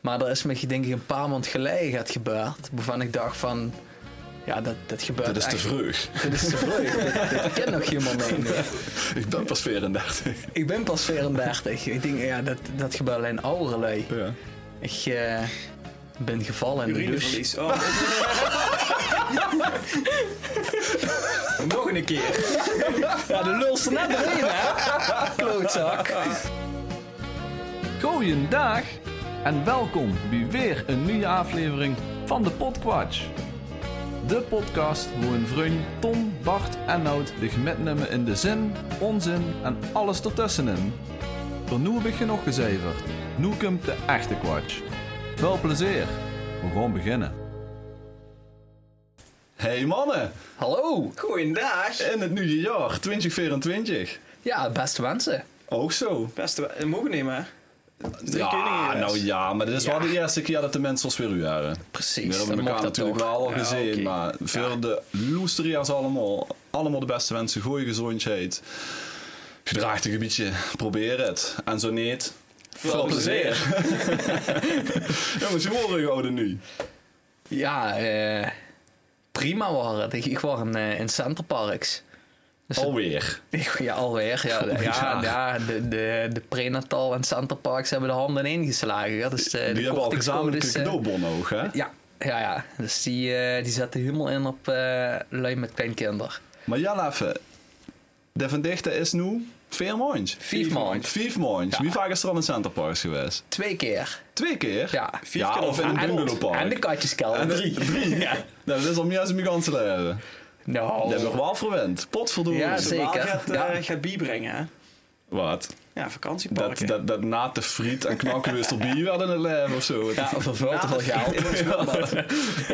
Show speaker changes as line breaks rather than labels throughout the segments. Maar er is me denk ik een paar maand geleden het gebeurd. Waarvan ik dacht van... Ja, dat, dat gebeurt
Dat is te
echt-
vreug.
Dit is te vroeg. dit, dit kent nog iemand mee. nu.
Ik ben pas 34.
Ik ben pas 34. Ik denk, ja, dat, dat gebeurt alleen oudere lui.
Ja.
Ik eh, ben gevallen in de douche.
Urineverlies. Oh. Nog een keer.
Ja, de lulste net erin, hè? Klootzak.
Goeiedag en welkom bij weer een nieuwe aflevering van de Podquatch. De podcast waar een vriend Tom, Bart en Nout de metnemen in de zin, onzin en alles ertussenin. Voor nu heb ik genoeg gezeverd. Nu komt de echte Quatch. Veel plezier. We gaan beginnen.
Hey mannen,
Hallo.
Goeiedag.
in het nieuwe jaar 2024.
Ja, beste wensen.
Ook zo.
Beste, we- mogen we nemen, hè? Drie dus.
Ja,
koningen, yes.
nou ja, maar dit is wel de eerste keer dat de mensen ons weer u waren.
Precies.
We hebben
dan
elkaar
mocht dat
natuurlijk
toch.
wel al
Ja,
gezien,
oké.
maar voor de loesteria's allemaal, allemaal de beste wensen, goede gezondheid. Gedraag een beetje, probeer het. En zo niet, veel plezier. Jongens, je horen houden nu.
Ja, eh, prima waren het. Ik, ik was in, eh, in Centerparks. Dus
Alweer.
Ik- Ja, alweer. Ja, de- ja,
Ja.
ja, de, de, de prenatal en Centerparks hebben de handen ingeslagen. Ja, dus de, de
Die hebben al gezamenlijk een
kortingscodes, eh,
cadeaubon ook, hè?
Ja, ja, ja. Dus die, eh, die zetten helemaal in op eh lui met kleinkinderen.
Maar Jan even, de Van Dichten is nu vier maandjes.
Vier maand.
Vier maandjes.
Ja.
Wie vaak is er al in Centerparks geweest?
Twee keer.
Twee keer?
Ja.
Vier keer
of
op-
in een
en-
bungalowpark.
En de katjeskelder.
En de- Drie. Nou, dat is al meer als mijn ganse leven.
Nou.
Dat hebben we wel verwend. Potverdorie.
Ja,
Normaal
Zeker,
gaat, eh,
ja.
gaat bier brengen, hè?
Wat?
Ja,
Dat,
vakantieparken.
dat, dat na de friet en knakkenwist op bier werden het leven of zo.
Ja, voor veel te veel geld.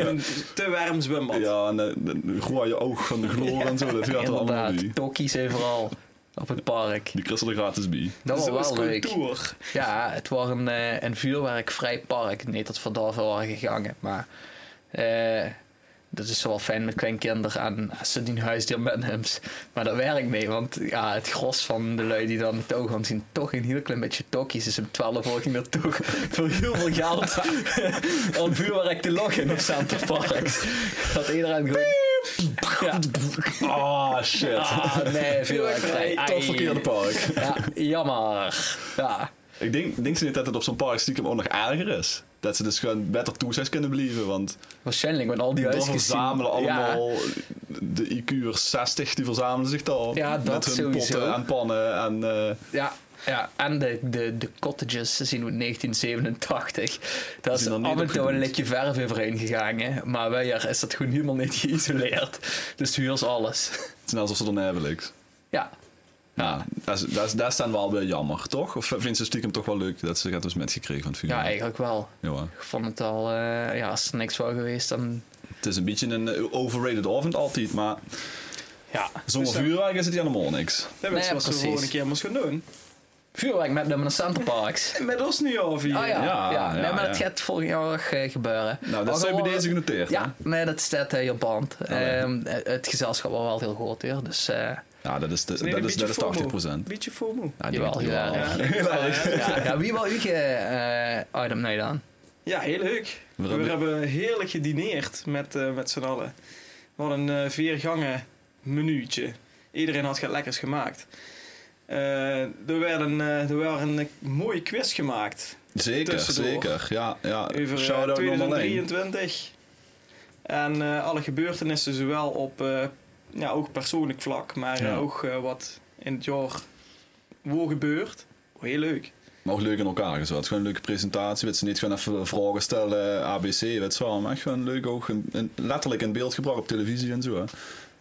Een te warm zwembad.
Ja, en dan- dan gooi je oog van de gloor en zo. Dat gaat er allemaal bij.
Inderdaad, tokkies overal op het park.
Die kisten er gratis bij.
Dat was
Zo is
wel leuk.
cultuur.
Ja, het was een, eh, een vuurwerkvrij park. Niet dat we daar veel waren gegaan, maar eh, dat is wel fijn met kleinkinderen en als ze die huisdier met hem. Maar dat werkt niet, want ja, het gros van de lui die dan het oog gaan zien, toch een heel klein beetje tokkies. Dus om 12 uur ging dat toch voor heel veel geld aan vuurwerk te loggen op Centerparks. Dat iedereen gewoon... Ja.
Ah, shit.
Ah, nee, vuurwerkvrij.
Vuurwerkvrij,
Toch
Ai.
verkeerde park.
Ja, jammer. Ja.
Ik denk, denk ze niet dat het op zo'n park stiekem ook nog erger is. Dat ze dus gewoon beter toezicht kunnen blijven. Want
Waarschijnlijk, want al die
dan
huisjes zien-
verzamelen
Ja,
allemaal... De IQ'ers 60, die verzamelen zich daar.
Ja, dat
met hun
sowieso.
potten en pannen en... eh,
ja, ja. en de, de, de cottages zien we in 1987. Daar is
Zijn er niet
af en toe een
opgedoemd.
likje verf overheen gegaan. Hè. Maar wij hier is dat gewoon helemaal niet geïsoleerd. Dus huur is alles.
het is net alsof ze dan hebben niks.
Ja,
Ja, dat is, dat, is, dat is dan wel weer jammer, toch? Of vindt ze stiekem toch wel leuk dat ze het dus metgekregen van het vuur?
ja eigenlijk wel.
Ja, hoor.
Ik vond het al, eh, ja, als er niks was geweest, dan
Het is een beetje een eh, overrated avond altijd, maar
ja.
zonder
Dus, eh,
vuurwerk is het helemaal niks.
Dat
Nee,
is wat ze
Nou precies.
gewoon een keer moest gaan doen.
Vuurwerk met de Centerparks.
Met ons nu al vier.
Ah ja, ja,
Ja,
nee,
ja,
maar
ja.
dat gaat volgend jaar nog, eh, gebeuren.
Nou, dat
Maar
zijn bij
gewoon-
deze genoteerd,
Ja, nee, dat staat in je band. Ehm, het gezelschap was wel heel groot weer, dus... eh,
hè? Ja, dat is, de,
Nee,
dat
een
is, dat is
beetje FOMO.
80 procent.
Beetje FOMO.
Ja, Ah, die
Jawel,
die
jawel.
wel.
Ja, ja, wie wil ik eh eh, item nee dan?
Ja, heel leuk. We,
We hebben-
hebben heerlijk gedineerd met, eh, met z'n allen. We hadden een eh vier gangen menuutje. Iedereen had wat lekkers gemaakt. Eh, er, werd een, eh, er werd een eh, mooie quiz gemaakt
Zeker,
Tussendoor.
zeker. Ja, ja.
over eh,
Shout-out naar Marleen.
2023. En eh, alle gebeurtenissen, zowel op eh, ja, ook persoonlijk vlak, maar eh,
Ja.
ook eh, wat in het jaar wo gebeurt. oh, Heel leuk.
Maar ook leuk in elkaar gezet. Gewoon een leuke presentatie. Weet ze niet gewoon even vragen stellen, ABC, weet ze wel. Maar gewoon leuk ook. in- in- letterlijk in beeld gebracht op televisie en zo. hè.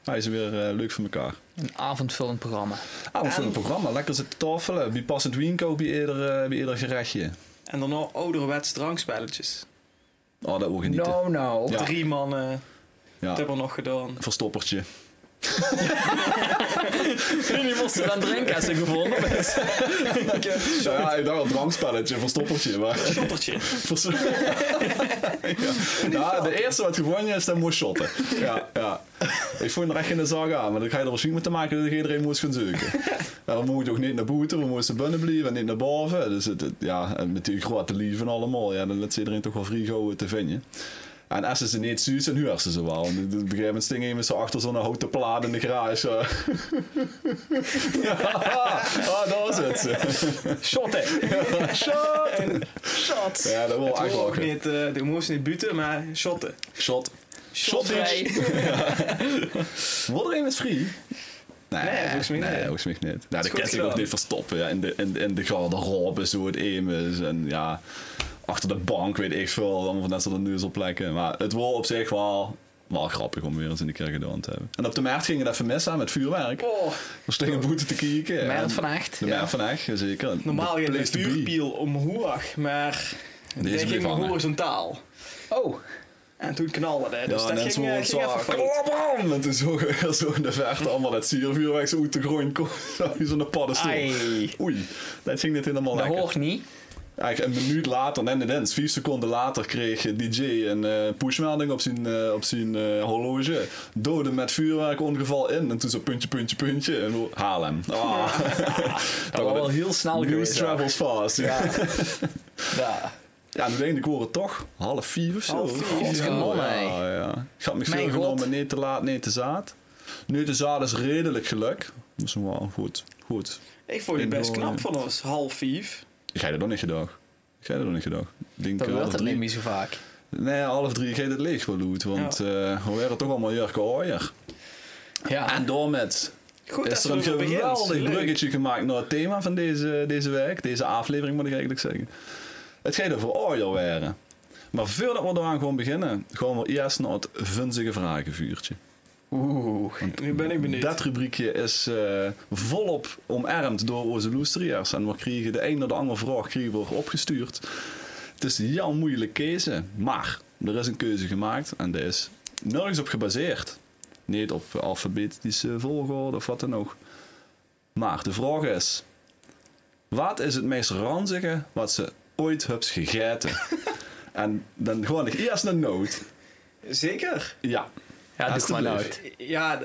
Hij is weer eh, leuk voor elkaar.
Een avondvullend programma.
Ah, wat voor
En-
een programma. Lekker zitten tafelen. Wie passend winko bij ieder, eh, bij ieder gerechtje.
En daarna ouderwets drankspelletjes.
Oh, dat wil genieten.
No, no.
Ja.
Drie mannen, Nou, dat
Ja,
hebben we nog gedaan.
verstoppertje.
Jullie moesten dan drinkkassen gevonden.
Ja, ja, ik dacht al drankspelletje, verstoppertje. Maar
Shoppertje.
Vers- ja. Ja, de eerste wat gewonnen is, dan moest shotten. Ja, ja. Ik vond er echt in de zaak aan, maar dan ga je er waarschijnlijk mee te maken dat iedereen moest gaan zoeken. En dan moet je ook niet naar buiten, we moesten binnen blijven en niet naar boven. Dus het, het- ja, en met die grote lieven allemaal, ja, dan laat ze iedereen toch wel vrij gauw te vinden. En als ze ze niet zuur zijn, huur ze ze wel. En op een gegeven moment stingen iemand zo achter zo'n houten plaat in de garage. eh. ja, ah, daar zit ze.
Shotten.
Shot!
Shot.
Ja, dat wil
Het
eigenlijk
mocht ook
lachen.
niet, eh, de moest niet buten, maar shotten.
Shot.
Shotvrij.
Wordt er een met free?
Nee, volgens mij
nee,
niet.
volgens mij niet. Nou, dat
goed
kan zich ook
gedaan.
niet verstoppen. Ja. In, de, in, in de garderobe, zo het emus. En ja, achter de bank, weet ik veel. Allemaal van dat soort neuzelplekken. Maar het was op zich wel, wel grappig om weer eens in de kerk gedaan te hebben. En op de markt gingen dat even mis aan met vuurwerk. Er
Oh,
stingen boete te kijken.
Merel
En-
van Acht.
De Merel van Echt, zeker.
normaal
De
ging een
place to be.
vuurpiel omhoog, maar
bleef
die ging
hangen.
horizontaal.
Oh,
En toen knalde het, dus
Ja,
dat
net
ging,
zo
eh, ging even fout.
klap aan! En toen zo, zo in de verte allemaal dat siervuurwerk zo uit de grond komt. Zo in zo'n paddenstoel.
Ai.
Oei, dat ging niet helemaal
dat
lekker.
hoort niet.
Eigenlijk een minuut later, nee, nee, nee, vier seconden later kreeg eh, DJ een eh, pushmelding op zijn, eh, op zijn eh, horloge. Doden met vuurwerk, ongeval in. En toen zo puntje, puntje, puntje. En we- haal hem. Ah.
Dat was wel heel snel
News
geweest. hoor.
travels fast. Ja,
Ja.
ja nu denk ik, ik hoor het toch. Half vier of zo.
Half vier,
God,
ja.
ja, ja. Ik had me veel
Mijn God.
genomen, nee te laat, nee te zaad. Nee te zaad is redelijk geluk. Dat is wel goed. goed.
Ik vond het best
Indoor,
knap
ja.
van ons, half vijf.
Ik ga je dat nog niet gedaan. Ik ga je dat nog niet gedaan. Ik Denk
Dat
half
wordt het
drie.
niet meer zo vaak.
Nee, half drie geeft het leeg wel doet, want eh, we waren toch allemaal Jurke Ooyer.
Ja.
En daarmets
Goed
is
dat
er
we
een
weer beginnen.
geweldig
Leuk.
bruggetje gemaakt naar het thema van deze, deze week, deze aflevering moet ik eigenlijk zeggen. Het gaat over Ooyer waren. Maar voordat we eraan gewoon beginnen, gaan we eerst naar het vunzige vragenvuurtje.
Oeh.
Nu ben ik benieuwd.
Dat rubriekje is eh, volop omarmd door onze loesteriers. En we kregen de een naar de andere vraag kregen we opgestuurd. Het is jouw moeilijke keuze, maar er is een keuze gemaakt en die is nergens op gebaseerd. Niet op alfabetische volgorde of wat dan ook. Maar de vraag is: wat is het meest ranzige wat ze ooit hebt gegeten? en dan gewoon ik eerst een noot.
Zeker.
Ja,
Ja, doe maar
Alsjeblieft.
nooit.
Ja, d-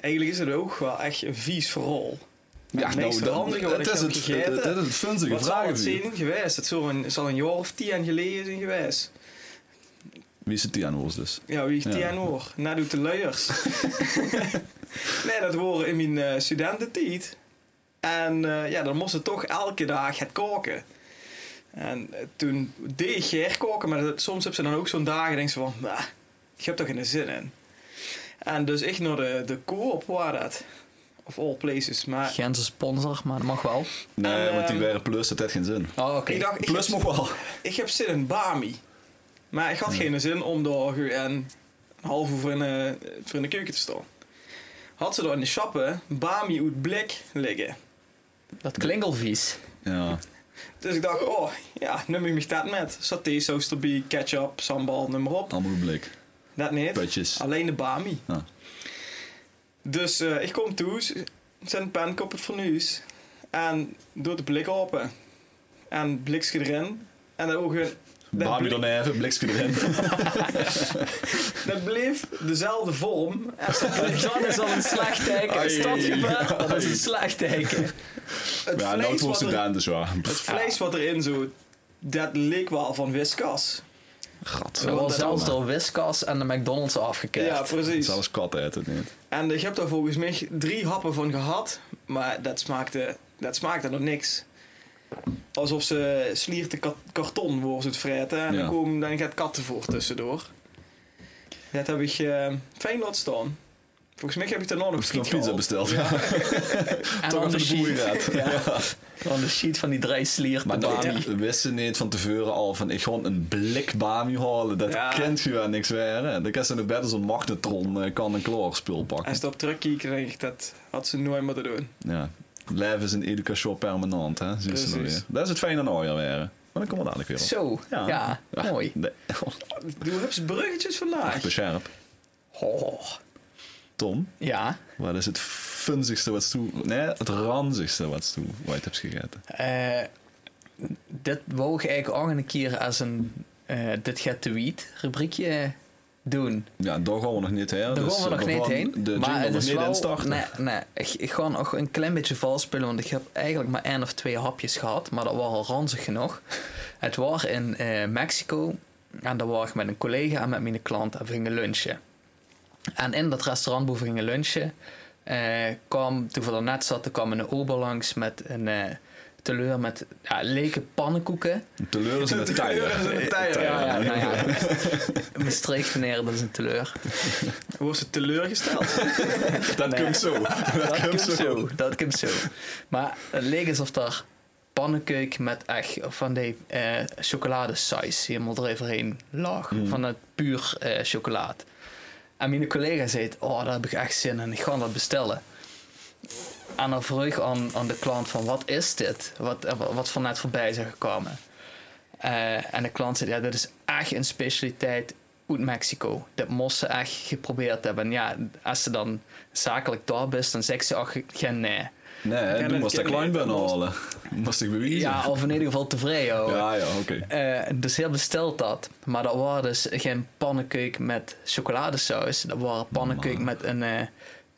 eigenlijk is het ook wel echt een vies verhaal.
ja
het meest
dat-
ranzige wat
het
ik
is
heb
het,
gegeten.
het, het is het vunzige
Wat zal het
vragenvuur.
zijn geweest? Het zal een, zal een jaar of tien geleden zijn geweest.
Wie zit die aan ons dus?
Ja, wie ik
Ja.
tien hoor. Na Nou, doet de luiers. nee, dat horen in mijn eh, studententijd. En eh, ja, dan moest ze toch elke dag het koken. En eh, toen deed ik Ger koken, maar dat- soms heb ze dan ook zo'n dagen en denkt ze van, nah, ik heb toch geen zin in. En dus ik naar de, de koop waar dat. Of all places. Maar
Geen sponsor, maar dat mag wel.
Nee,
En,
want die
ehm,
waren plus, dat had geen zin.
Oh, oké.
ik dacht, ik
Plus
heb,
nog wel.
ik heb zin in Bami. Maar ik had geen zin om daar gewoon een half uur voor in, de- voor in de keuken te staan. Had ze daar in de shoppen Bami uit blik liggen.
Dat klinkt al vies.
Ja.
Dus ik dacht, oh ja, nu moet ik dat met. Saté, saus erbij, ketchup, sambal, noem maar op.
Allemaal een blik.
Dat niet.
Putjes.
Alleen de Bami.
Ja.
Dus eh, ik kom toe, ze- zijn pan op het fornuis. En doet de blik open. En blikske erin. En dan ook weer Dat
Bami
blik-
dan even, blikske erin.
Dat bleef dezelfde vorm. En ze bleef
Dat is al een slecht teken.
Ai.
Is dat gebeurd? Dat is een slecht teken.
het,
Ja, nou
vlees
voor
wat er-
studenten, dus ja.
het vlees wat erin zo, dat leek wel van Whiskas.
Gat.
Ze was zelfs door Whiskas en de McDonald's afgekeerd.
Ja, precies.
Zelfs kat eet het niet.
En ik heb daar volgens mij drie happen van gehad, maar dat smaakte, dat smaakte nog niks. Alsof ze slierte kat- karton voor ze het vreten en
Ja.
dan, komen, dan gaat katten voor tussendoor. Dat heb ik eh fijn laten staan. Volgens mij heb ik daarna nog
Heb je nog
friet
pizza
gehad.
besteld? Ja.
en
Toch
on the
onder de boei
sheet.
gaat.
On the sheet van die drie slierten.
Maar
Bami.
dan wisten niet van tevoren al van ik ga een blik Bami halen. Dat
Ja.
kent je wel niks weer. hè. Dan kan ze in de bed als een magnetron eh, kan en klaar spul
En
pakken.
ze op terugkijken, denk ik, dat had ze nooit moeten doen.
Ja. Leven is een education permanent, hè? Zien ze nou
Precies.
weer. Dat is het fijne aan ooienweren. Maar dan komen we dadelijk weer op.
Zo,
Ja.
ja,
Ja.
mooi.
Nee.
Doe heb bruggetjes vandaag.
Echt bescherp.
Oh,
Tom,
Ja.
wat is het funzigste wat toe... Nee, het ranzigste wat toe wat hebt gegeten?
Eh, dit wou ik eigenlijk ook een keer als een eh, Dit gaat te wiet rubriekje doen.
Ja, daar gaan we nog niet heen.
Daar
dus
gaan we nog
gaan
niet heen.
De jingle nog niet instarten.
Nee, nee, ik, ik ga nog een klein beetje vals spelen, want ik heb eigenlijk maar één of twee hapjes gehad, maar dat waren al ranzig genoeg. Het was in eh, Mexico en daar was ik met een collega en met mijn klant en we gingen lunchen. En in dat restaurant waar we gingen lunchen, eh, kwam, toen we er net zaten, kwam een ober langs met een eh, teleur met ja, leke pannenkoeken.
Teleur is in de
De
tijger.
kleur is in de tijger.
Ja, ja, nou ja. Mijn streekveneer, dat is een teleur.
Wordt ze teleurgesteld?
Dat
Nee.
komt zo.
Dat komt
zo.
zo. Dat komt zo. Maar het leek alsof daar pannenkeuk met echt van die eh chocoladesaus helemaal eroverheen lag. Van het puur eh chocolaat. En mijn collega zei, het, oh, daar heb ik echt zin in. Ik ga dat bestellen. En dan vroeg ik aan, aan de klant van, wat is dit? Wat, eh, wat van net voorbij is gekomen. Eh, en de klant zei, ja, dit is echt een specialiteit uit Mexico. Dat moest ze echt geprobeerd hebben. En ja, als ze dan zakelijk daar bent, dan zegt ze ook geen nee.
Nee,
Ja,
toen
dat
moest ik
ken ik.
klein binnen halen. Moest ik bewijzen.
Ja, of in ieder geval tevreden houden.
ja, ja, oké.
Eh, dus heel besteld dat. Maar dat waren dus geen pannenkeuk met chocoladesaus. Dat waren pannenkeuk met een, eh,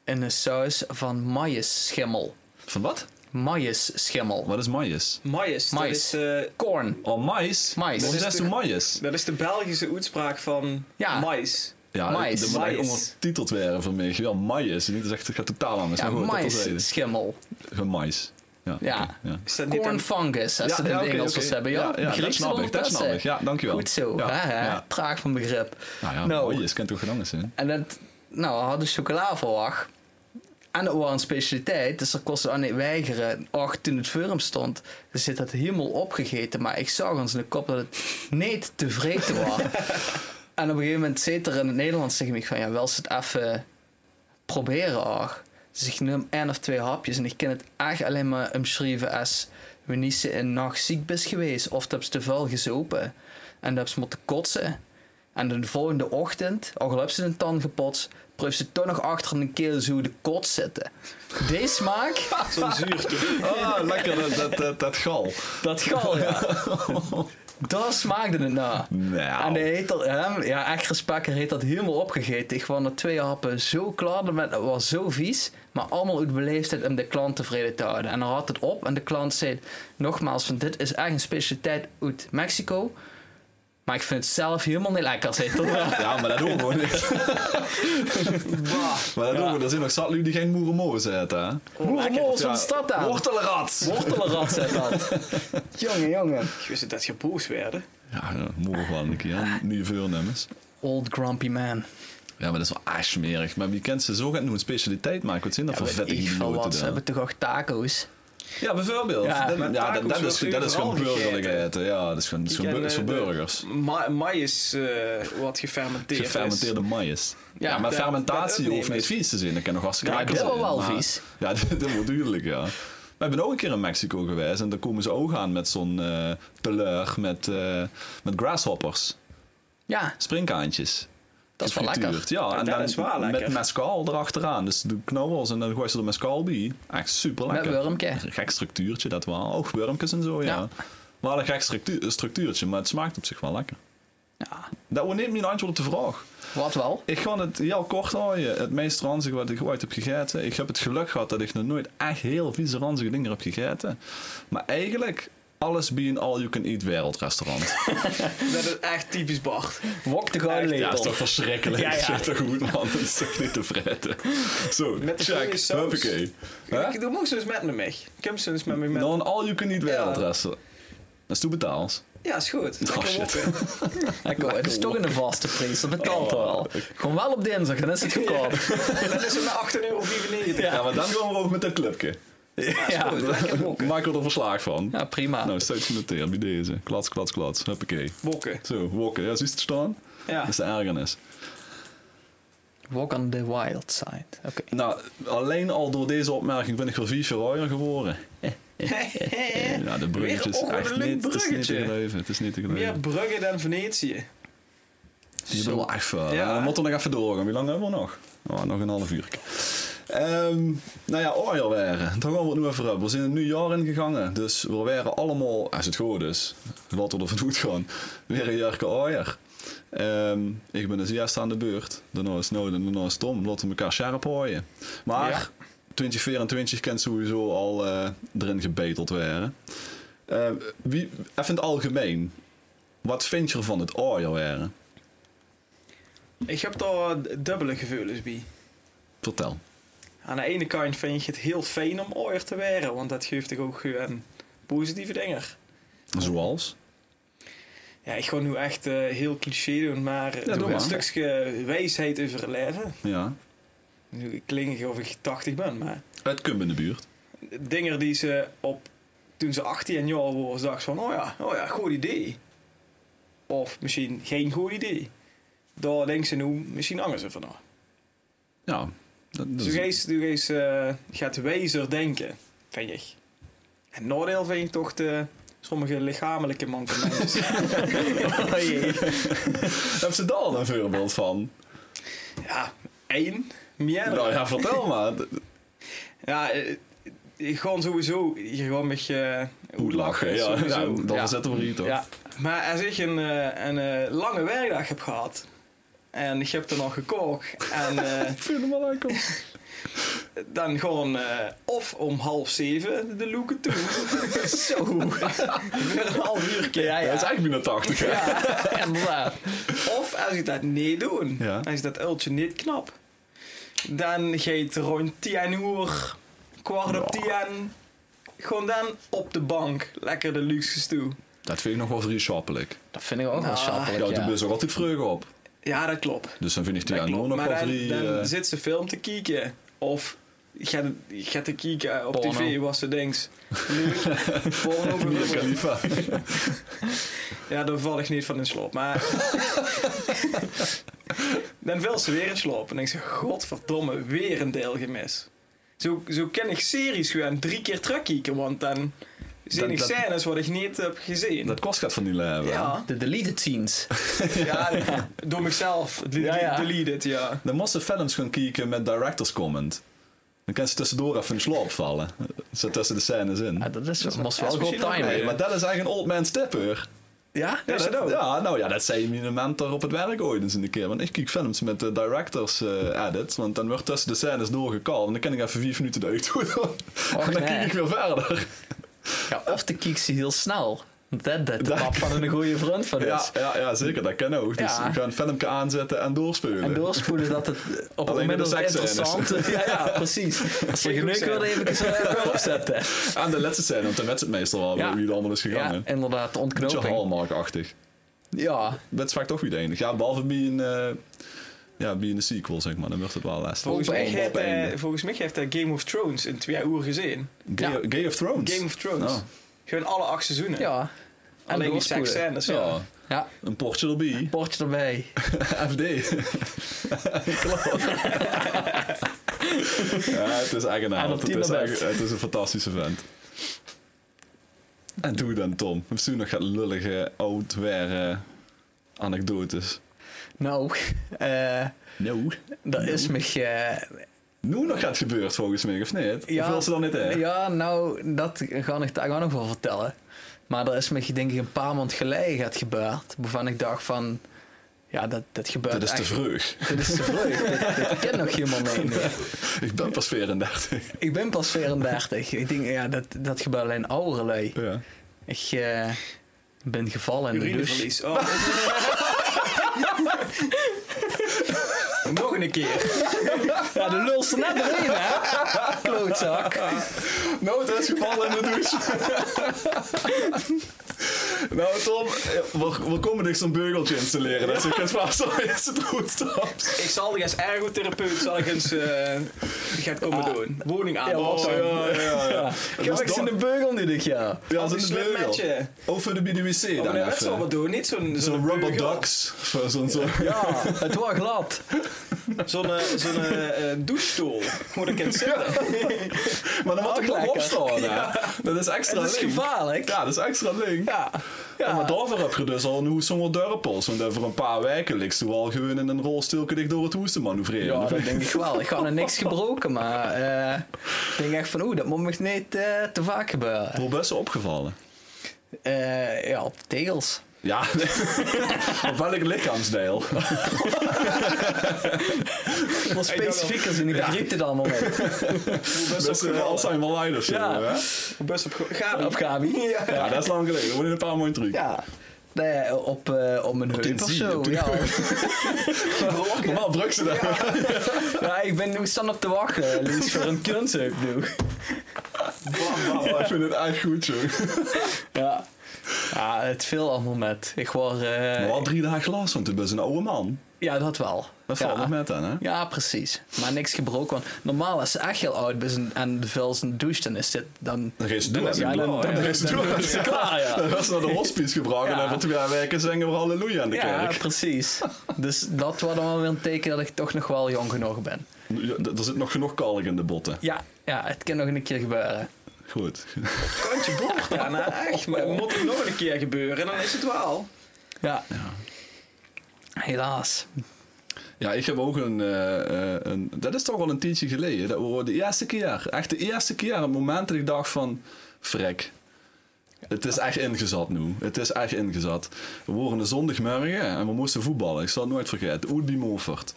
een saus van maïsschimmel.
Van wat?
Maïsschimmel.
Wat is maïs?
Maïs. Dat
Mais.
is, eh,
Korn.
Oh, mais?
Mais.
Wat
Dat
is
is
dat
de-
toen mais?
dat is de Belgische uitspraak van
Ja.
mais.
Ja,
Mais.
dat moet eigenlijk
Mais.
ondertiteld werden voor mij. Wel mais. Niet gezegd, het gaat totaal anders.
Ja,
maar goed, dat terzijde.
maïsschimmel.
Gewoon mais. Ja.
Ja.
oké, ja.
Is dat niet
Corn
een-
fungus, als
Ja,
ze het in
ja,
het
oké,
Engels
oké.
was hebben. Ja,
Ja, ja,
begreep
dat
ze
snap
wel
ik, dat
wat
snap
ze.
ik. Ja, dankjewel.
Goed zo,
Ja,
hè, hè.
ja.
traag van begrip.
Nou ja,
Nou.
mais kan toch gedaan zijn?
En dat, nou, we hadden chocola verwacht. En dat was een specialiteit, dus dat kostte aan niet weigeren. Och, toen het voor hem stond, dus zit dat helemaal opgegeten. Maar ik zag ons in de kop dat het niet tevreden was. en op een gegeven moment zit er in het Nederlands tegen mij van... Ja, wil ze het even proberen, och. Dus ik neem één of twee hapjes en ik kan het echt alleen maar omschrijven als... We niet ze een nacht ziek bent geweest of dat ze te veel gezopen. En dat ze moeten kotsen. En de volgende ochtend, al heb ze een tand gepotst... Proef ze toch nog achter een keel zo de kot zitten. Deze smaak,
Zo'n zuurtje.
Ah, lekker, dat, dat, dat, dat gal.
dat gal, ja. Daar smaakte het naar. En eh, hij
Nou,
heet dat, hem, ja, echt respect, hij heeft dat helemaal opgegeten. Ik was na twee happen zo klaar met, het was zo vies. Maar allemaal uit beleefdheid om de klant tevreden te houden. En dan had het op en de klant zei nogmaals, van dit is echt een specialiteit uit Mexico. Maar ik vind het zelf helemaal niet lekker, zei hij. tot-
ja, maar dat doen we gewoon niet. Maar dat doen we. Er zijn nog zat lui die geen moerenmoor zetten, hè?
Boerenmol is van de Oh, stad aan.
Wortelenrad!
Wortelenrad zet dat. jongen, jongen.
Ik wist niet dat je boos werd.
Ja, ja, moer gewoon een keer.
Ah.
hè. Niet veel nummers.
Old grumpy man.
Ja, maar dat is wel echt smerig. Maar wie kent ze zo gaat nu een specialiteit maken? Wat zijn dat voor vettige
ik van
idioten
wat, ze
dan?
hebben toch ook taco's?
Ja, bijvoorbeeld.
Ja,
Dat- Ja,
maar
dat,
tacos
dat is,
wordt
dat is
overal
gewoon burgerlijkheid.
gegeten.
hè. Ja, dat is gewoon, dat is
Ik
gewoon
ken,
bur- is
eh,
voor
de-
burgers.
Ma mais eh, wat gefermenteerd is.
Gefermenteerde maïs. Ja,
Ja,
maar
dat-
fermentatie
dat ook
hoeft
niet,
niet
maar-
vies te zijn. Dat kan nog hartstikke
Ja,
lekker
dat
zijn.
wel wel
maar-
vies.
Ja, dat dat wordt duidelijk, ja. We hebben ook een keer in Mexico geweest en daar komen ze ook aan met zo'n eh teleur met, eh, met grasshoppers,
Ja,
springkaantjes.
dat is wel lekker.
gefrituurd. Ja,
Ja,
en
dat
dan
is wel
met
lekker.
mescal erachteraan. Dus de knobbels en dan gooi je er mescal bij. Echt super lekker.
Met wormke.
Een gek structuurtje, dat wel. Ook wormpjes en zo, ja.
Ja.
Wel een gek structuur, structuurtje, maar het smaakt op zich wel lekker.
Ja,
Dat ontneemt niet een antwoord op de vraag.
wat wel?
Ik ga het heel kort houden. Het meest ranzige wat ik ooit heb gegeten. Ik heb het geluk gehad dat ik nog nooit echt heel vieze ranzige dingen heb gegeten. Maar eigenlijk alles bij een all-you-can-eat wereldrestaurant.
Dat is echt typisch Bart.
Wok de gouden
Echt,
Ja, is
lepel.
toch verschrikkelijk.
Ja,
Ja,
ja.
ja. toch goed, man. Dat is toch niet te fretten. Zo,
Met de
check.
goeie saus.
Huppakee. Hè?
Ik doe moest eens met me mee. Ik heb ze eens met me mee.
Nou, een all-you-can-eat wereldrestaurant. Dat is toe betaals.
Ja, is goed.
Oh,
Lekker
shit.
wokken.
Lekker, het is toch een vaste prijs, dat betaalt wel. Gewoon wel op dinsdag, dan Oh. is het goedkoop.
Dat is maar 8,95 euro.
Ja. maar dan gaan we over met dat clubje.
Ja,
Maak er verslaag van.
ja prima.
Nou, steeds genoteerd bij deze. Klats, klats, klats. Huppakee.
Wokken.
Zo, wokken. Ja, zie je het staan?
Ja.
Dat is de ergernis.
Walk on the wild side. Oké.
Nou, alleen al door deze opmerking ben ik weer vier jaar ouder geworden. Ja, de bruggetje is
Weer ook
echt
een leuk
niet, het is niet te
bruggetje.
geloven. Het is niet te
Meer
geloven.
Brugge dan Venetië.
Je bedoelt eh, echt wel.
Ja.
Ja. We moeten nog even doorgaan. Hoe lang hebben we nog? Oh, nog een half uur. Ehm, nou ja, Oriel waren. Daar gaan we het nu even hebben. We zijn het nu jaar ingegaan. Dus we waren allemaal, als het goed is, laten we ervan goed gaan, weer een jaar Oier. Ehm, ik ben als eerste aan de beurt. Daarna is Noden, daarna is Tom. Laten we elkaar scherp hooien. Maar
Ja.
2024 kan sowieso al eh, erin gebeteld worden. Eh, wie, even in het algemeen. Wat vind je ervan het Oier waren?
Ik heb daar dubbele gevoelens bij.
Vertel.
Aan de ene kant vind je het heel fijn om ooier te weren, want dat geeft ik ook een positieve dingen.
Zoals?
Ja, ik ga nu echt eh, heel cliché doen, maar
doe
doe
maar.
een stukje wijsheid over het leven.
Ja.
Nu klink ik of ik 80 ben, maar
Het Kumb in de buurt.
dingen die ze op toen ze 18 jaar waren, dacht van, oh ja, oh ja, goed idee. Of misschien geen goed idee. Daar denken ze nu misschien anders over na.
Ja. Dat, dat
Dus
is-
je gaat- je gaat, eh, gaat wijzer denken, vind ik. En nadeel vind ik toch de, sommige lichamelijke mankementen.
Oh jee.
Hebben ze daar al een voorbeeld van?
ja, één, meer.
Nou ja, vertel maar.
Ja, eh, je gaat sowieso je gaat met je
Hoe lachen, ja. ja
eh, sowieso.
dan
Ja.
zetten we hier toch.
Ja,
Maar als ik een, eh, een eh, lange werkdag heb gehad en ik heb er nog gekookt en eh,
Ik vind hem wel leuk.
dan gewoon eh, of om half zeven de loeken toe. Zo. Weer een half uur
ja,
Ja, het is
ja.
eigenlijk binnen 80, hè?
Inderdaad.
Of als ik dat niet doe,
Ja.
als ik dat uiltje niet knap, dan geet rond 10 uur, kwart op 10, gewoon dan op de bank, lekker de luxe toe.
Dat vind ik nog wel vriendschappelijk.
Dat vind ik ook wel
Nou,
Ja,
schappelijk,
de
ja.
bus ook altijd vreugde op.
Ja, dat klopt.
Dus dan vind ik die
Dat
aan
klopt.
nog
Maar
wel
dan,
drie...
dan
eh,
zit ze film te kijken. Of gaat, gaat te kijken op
Porno.
tv wat ze denkt. Leuk. Porno
Mia
bijvoorbeeld.
Khalifa.
Ja, daar val ik niet van in slaap. Maar dan wil ze weer in slaap. En denk ze, godverdomme, weer een deel gemist. Zo, zo ken ik series gewoon drie keer terugkijken. Want dan
Dat-
zijn ik
dat-
scènes wat ik niet heb gezien.
Dat kost gaat van die hebben.
ja,
Ah, De deleted scenes.
ja, door mezelf. Het
Ja, ja.
Delete it, ja.
Dan moesten films gaan kijken met directors comment. Dan kan ze tussendoor even in slaap vallen. Zet tussen de scènes in.
Ja, Ah, dat is, dat was
dat
wel
is
goed
misschien ook
timing.
Nee, maar dat is eigenlijk een old man's tip, hoor.
Ja,
Ja,
is dat ook?
ja, nou ja, dat zei mijn mentor op het werk ooit eens een keer. Want ik kijk films met de directors eh edits. Want dan wordt tussen de scènes doorgekald. En dan kan ik even vier minuten eruit doen. en dan
nee.
kijk ik weer verder.
Ja, of de kiek ze heel snel. Dat dat de
Dat-
pap van een goede vriend van
Ja,
is.
ja, ja, zeker. Dat kan ook. Dus
Ja.
ik ga een filmpje aanzetten en doorspelen.
En doorspoelen dat het op het
Alleen
moment
de
dat het
seksscènes.
interessant is. Ja, ja, precies. Als je geneukt wil, even zo even opzetten.
Aan de laatste scène, want dan werd het meestal wel
Ja.
wie er allemaal is gegaan.
Ja,
hè.
inderdaad, de
Beetje
ontknoping.
Hallmark-achtig.
Ja,
Dat is vaak toch weer de enige. Ja, behalve bij een, eh, ja, bij een sequel, zeg maar. Dan wordt het wel les.
Volgens mij, heeft,
Op einde.
eh, volgens mij heeft hij Game of Thrones in twee uur gezien.
Gay,
ja.
Gay of Thrones.
Game of Thrones.
Oh.
Gewoon alle acht seizoenen.
ja. En
Alleen die
doorspoelen.
seksscènes. Ja.
Ja,
Ja,
een portje erbij.
bordje erbij.
FD. ja, het is
En
eigenaardig.
op
Het is,
Tinder
eigen- het is een fantastische vent. En doe dan, Tom. We hebben nog gaat lullige, oud weer anekdotes.
Nou, eh,
Nou.
dat is me... eh,
Nu nog gaat gebeurd volgens mij, of niet?
Ja.
Of wil ze dan niet hè?
Ja, nou, dat ga ik daar nog wel vertellen. Maar er is me denk ik een paar maanden geleden het gebeurd. Waarvan ik dacht van... Ja, dat, dat gebeurt
Dat is te
echt-
vroeg.
Dit is te vroeg. dit, dit kent nog helemaal niet.
Ik ben pas 34.
Ik ben pas 34. Ik denk, ja, dat, dat gebeurt alleen oudere lui.
Ja.
Ik eh, ben gevallen in de douche.
Urineverlies. Oh. Nog een keer.
Ja, de lul staat net erin, hè? Klootzak.
Nou, het is gevallen in de douche. nou, Tom, we, we komen niks om beugeltje installeren. Dat is ook het vast al is het goed stapt.
Ik zal die als ergotherapeut zal ik eens, eh, die gaat komen doen. Woning aan.
Ja,
of
wat
zo.
dan?
Oh, ja, ja. ja.
Ik heb
Dat is
niks in de
dan-
beugel nu dit jaar.
Ja, als
Een
in de
slim
beugel.
matje.
Over de BDWC
Oh,
dan
nee, dat zal
even.
wat doen. Niet zo'n
Zo'n rubber
beugel.
ducks. Zo'n zo.
Ja, het was glad.
Zo'n eh, zo'n eh, eh, douchestoel. Moet ik het zitten?
Maar dan moet ik nog
lekker.
opstaan. hè. Dat is extra
Het is
link.
gevaarlijk.
Ja, dat is extra link.
Ja.
Ja.
ja.
maar daarvoor heb je dus al een hoestsommer dorpels. Want voor een paar weken ligt ze wel gewoon in een rolstilke dicht door het hoesten manoeuvreren.
Ja, dat denk ik wel. Ik had nog niks gebroken, maar eh, ik denk echt van oeh, dat moet me niet eh, te vaak gebeuren.
Wel best wel opgevallen.
Eh, ja, op de tegels.
Ja, op welk lichaamsdeel?
Wel specifiek als in die begreep het allemaal niet.
Best
Best wel
opgevallen.
Alzheimer leiders.
Ja.
Ja. Hè?
Best op Gabi.
Op Gabi.
ja, dat is lang geleden. We moeten een paar mooie truc.
Ja. Nee, op, eh, op mijn heup of
zie,
zo.
op die-
Ja,
Normaal druk ze dat.
ja, ik ben nu staan op te wachten, Lies, voor een kunsheup nu.
Ja, ik vind het echt goed, joh.
Ja. ja, het veel allemaal met. Ik word... eh,
Maar wel drie dagen last, want het is een oude man.
ja, dat wel.
Dat
ja.
valt nog met aan, hè?
Ja, precies. Maar niks gebroken. Want normaal als ze echt heel oud is en- en de vuil zijn douche, dan is dit dan...
Dan is het
Dan
door.
is hij
Dan
klaar, ja.
is het door.
Dan is hij klaar, ja.
Dan was ze naar de hospice gebracht en
Ja.
over twee weken zingen we halleluja aan de
Ja,
kerk.
precies. Dus dat was dan wel weer een teken dat ik toch nog wel jong genoeg ben.
Ja, d- er zit nog genoeg kalk in de botten.
Ja, ja het kan nog een keer gebeuren.
Goed.
kantje boord daarna. Echt, maar moet het nog een keer gebeuren, dan is het wel.
Ja. Helaas.
Ja, ik heb ook een, eh, eh, een... Dat is toch al een tijdje geleden. Dat we de eerste keer, echt de eerste keer, het moment dat ik dacht van... Vrek. Het is echt ingezat nu. Het is echt ingezat. We waren een zondagmorgen en we moesten voetballen. Ik zal het nooit vergeten. Oedby Moffert.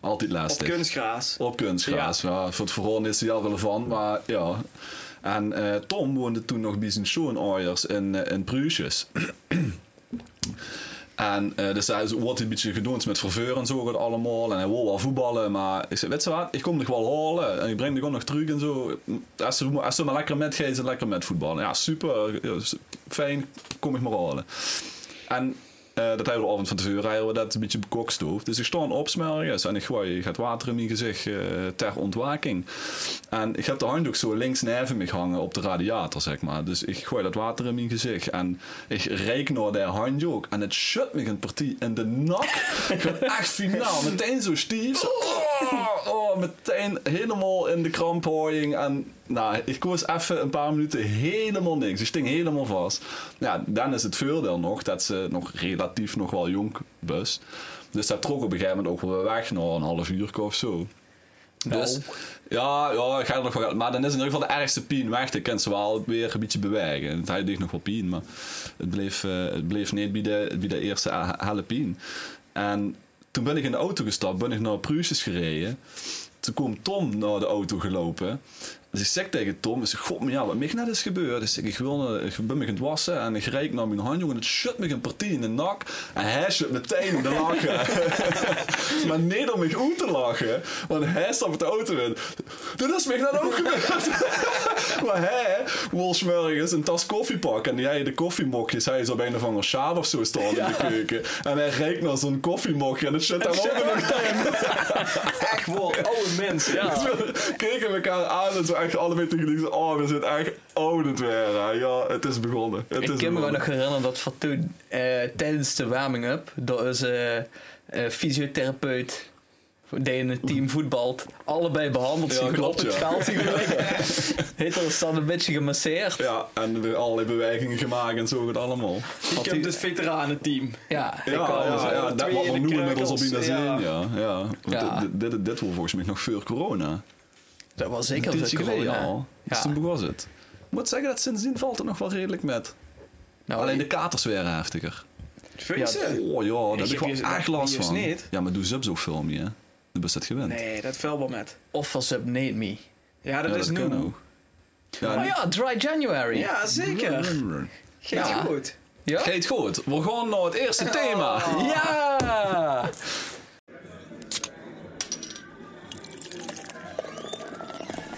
Altijd
Op
lastig.
kunstgraas.
Op kunstgras, ja. Voor het verhaal is hij al relevant, maar ja. En eh, Tom woonde toen nog bij zijn schoonouders in, eh, in Pruusjes. en eh dus hij wordt een beetje gedoond met verveur en zo gaat allemaal. En hij wil wel voetballen, maar ik zei, weet je wat, ik kom nog wel halen. En ik breng nog nog terug en zo. Als ze, als ze maar lekker met gaan, ze lekker met voetballen. Ja, super. Ja, s- fijn, kom ik maar halen. En eh, dat hebben we de avond van tevoren hebben we dat een beetje bekokstoofd. Dus ik sta aan opsmerken en ik gooi het water in mijn gezicht eh, ter ontwaking. En ik heb de handdoek zo links neven me hangen op de radiator, zeg maar. Dus ik gooi dat water in mijn gezicht en ik reik naar de handdoek. En het shut me een partij in de nak. Gewoon Echt finaal, meteen zo stief. Zo, oh, oh, meteen helemaal in de kramphouding. En nou, ik koos even een paar minuten helemaal niks. Ik sting helemaal vast. Ja, dan is het voordeel nog dat ze nog relatief nog wel jong was. Dus dat trok op een gegeven moment ook wel weg, na een half uur of zo. Dus ja, ja, ik ga er nog wel. Maar dan is in ieder geval de ergste pijn weg. Ik kan ze wel weer een beetje bewegen. Het hij dicht nog wel pijn, maar het bleef, eh, het bleef niet bij de, bij de eerste he- hele pijn. En toen ben ik in de auto gestapt, ben ik naar Pruusjes gereden. Toen komt Tom naar de auto gelopen. Dus ik zeg tegen Tom, ik zeg, god, maar ja, wat nou mij net is gebeurd. is ik, wil, naar- ik ben me gaan wassen en ik reik naar mijn handje en het shut me een partij in de nak. En hij shut meteen in de lachen. Maar niet om mij uit te lachen, want hij stapt de auto in. Dat is mij net ook gebeurd. maar hij wil 's morgens een tas koffie pakken en jij de koffiemokjes. Hij is op een of andere sjaal of zo staan in de keuken. En hij reikt naar zo'n koffiemokje en het shut hem ook nog in.
Echt wel, oude mensen.
Dus
Ja.
we keken elkaar aan en zo echt allebei tegelijk. Oh, we zijn echt oud het weer. hè. Ja, het is begonnen.
ik
Het is
kan me gewoon
begonnen.
nog herinneren dat van toen, eh, tijdens de warming-up, door onze eh, fysiotherapeut, die in het team voetbalt, allebei behandeld
Ja,
zien
klopt,
op het
ja.
veld zien liggen. Heeft ons dan een beetje gemasseerd.
Ja, en weer allerlei bewegingen gemaakt en zo gaat allemaal.
Ik heb dus veteranenteam.
Ja,
Ja,
kan dus
ja, ja,
alle
dat
twee
wat
in
we
de
nu inmiddels op
krakels,
Inazeen, ja.
ja.
ja, Want
Ja.
Dit, dit, dit, dit was volgens mij nog voor corona.
dat was
Een
zeker
tijdje
veel
geleden
corona.
al. Dus
Ja.
toen was het. Ik moet zeggen dat sindsdien valt het nog wel redelijk met.
Nou,
Alleen de katers werden heftiger.
Vissen?
Oh ja,
je
daar heb ik
hebt
wel
hier-
echt last
hier is
van.
niet.
Ja, maar doe ze zo veel meer. Dan best het gewend.
Nee, dat fel wel met.
Of was het Need Me.
Ja, dat
Ja,
is
dat kan
nu.
ook.
Oh ja, Dry January.
Ja, zeker. Geet
Ja.
goed.
Ja?
Geet goed, we gaan naar het
Oh.
eerste thema.
Ja!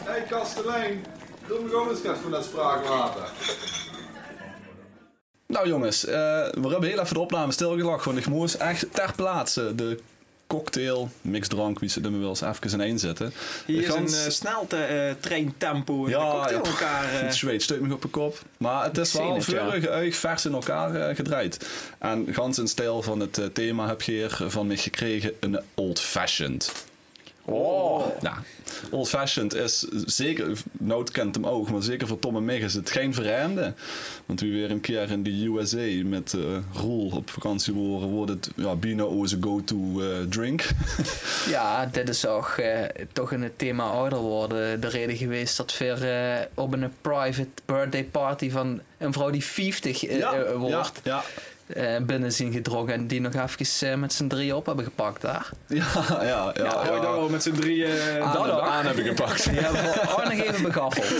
Hé hey, Kastelein, doe me gewoon eens gast van dat spraakwater.
Nou jongens, eh, we hebben heel even de opname stilgelegd, want ik moest echt ter plaatse de cocktail, mixdrank, wie ze er maar wel eens even in één zetten.
Hier is
Gans-
een eh, snelte eh, treintempo. En
Ja,
ja, komt
ja,
tegen
pff,
elkaar. eh,
Het zweet stuit me op de kop. Maar het is
zie
wel
het, ja.
vurige uig vers in elkaar eh, gedraaid. En gans in stijl van het eh, thema heb je hier eh, van me gekregen een old fashioned.
Oh.
Ja, old fashioned is zeker, Nout kent hem ook, maar zeker voor Tom en Meg is het geen vreemde. Want wie weer een keer in de USA met eh Roel op vakantie horen, wordt het ja, Bino onze go-to eh, drink.
Ja, dit is ook eh, toch in het thema ouder worden de reden geweest dat we eh, op een private birthday party van een vrouw die 50 eh, eh,
ja,
wordt
ja,
eh, binnen zien gedronken en die nog even eh, met z'n drieën op hebben gepakt daar.
ja, ja. ja,
ja,
ja.
ooit al met z'n drieën eh,
Ah,
Dan
dat
ook.
ook.
aan heb ik gepakt.
Die hebben we ook nog even begaffeld.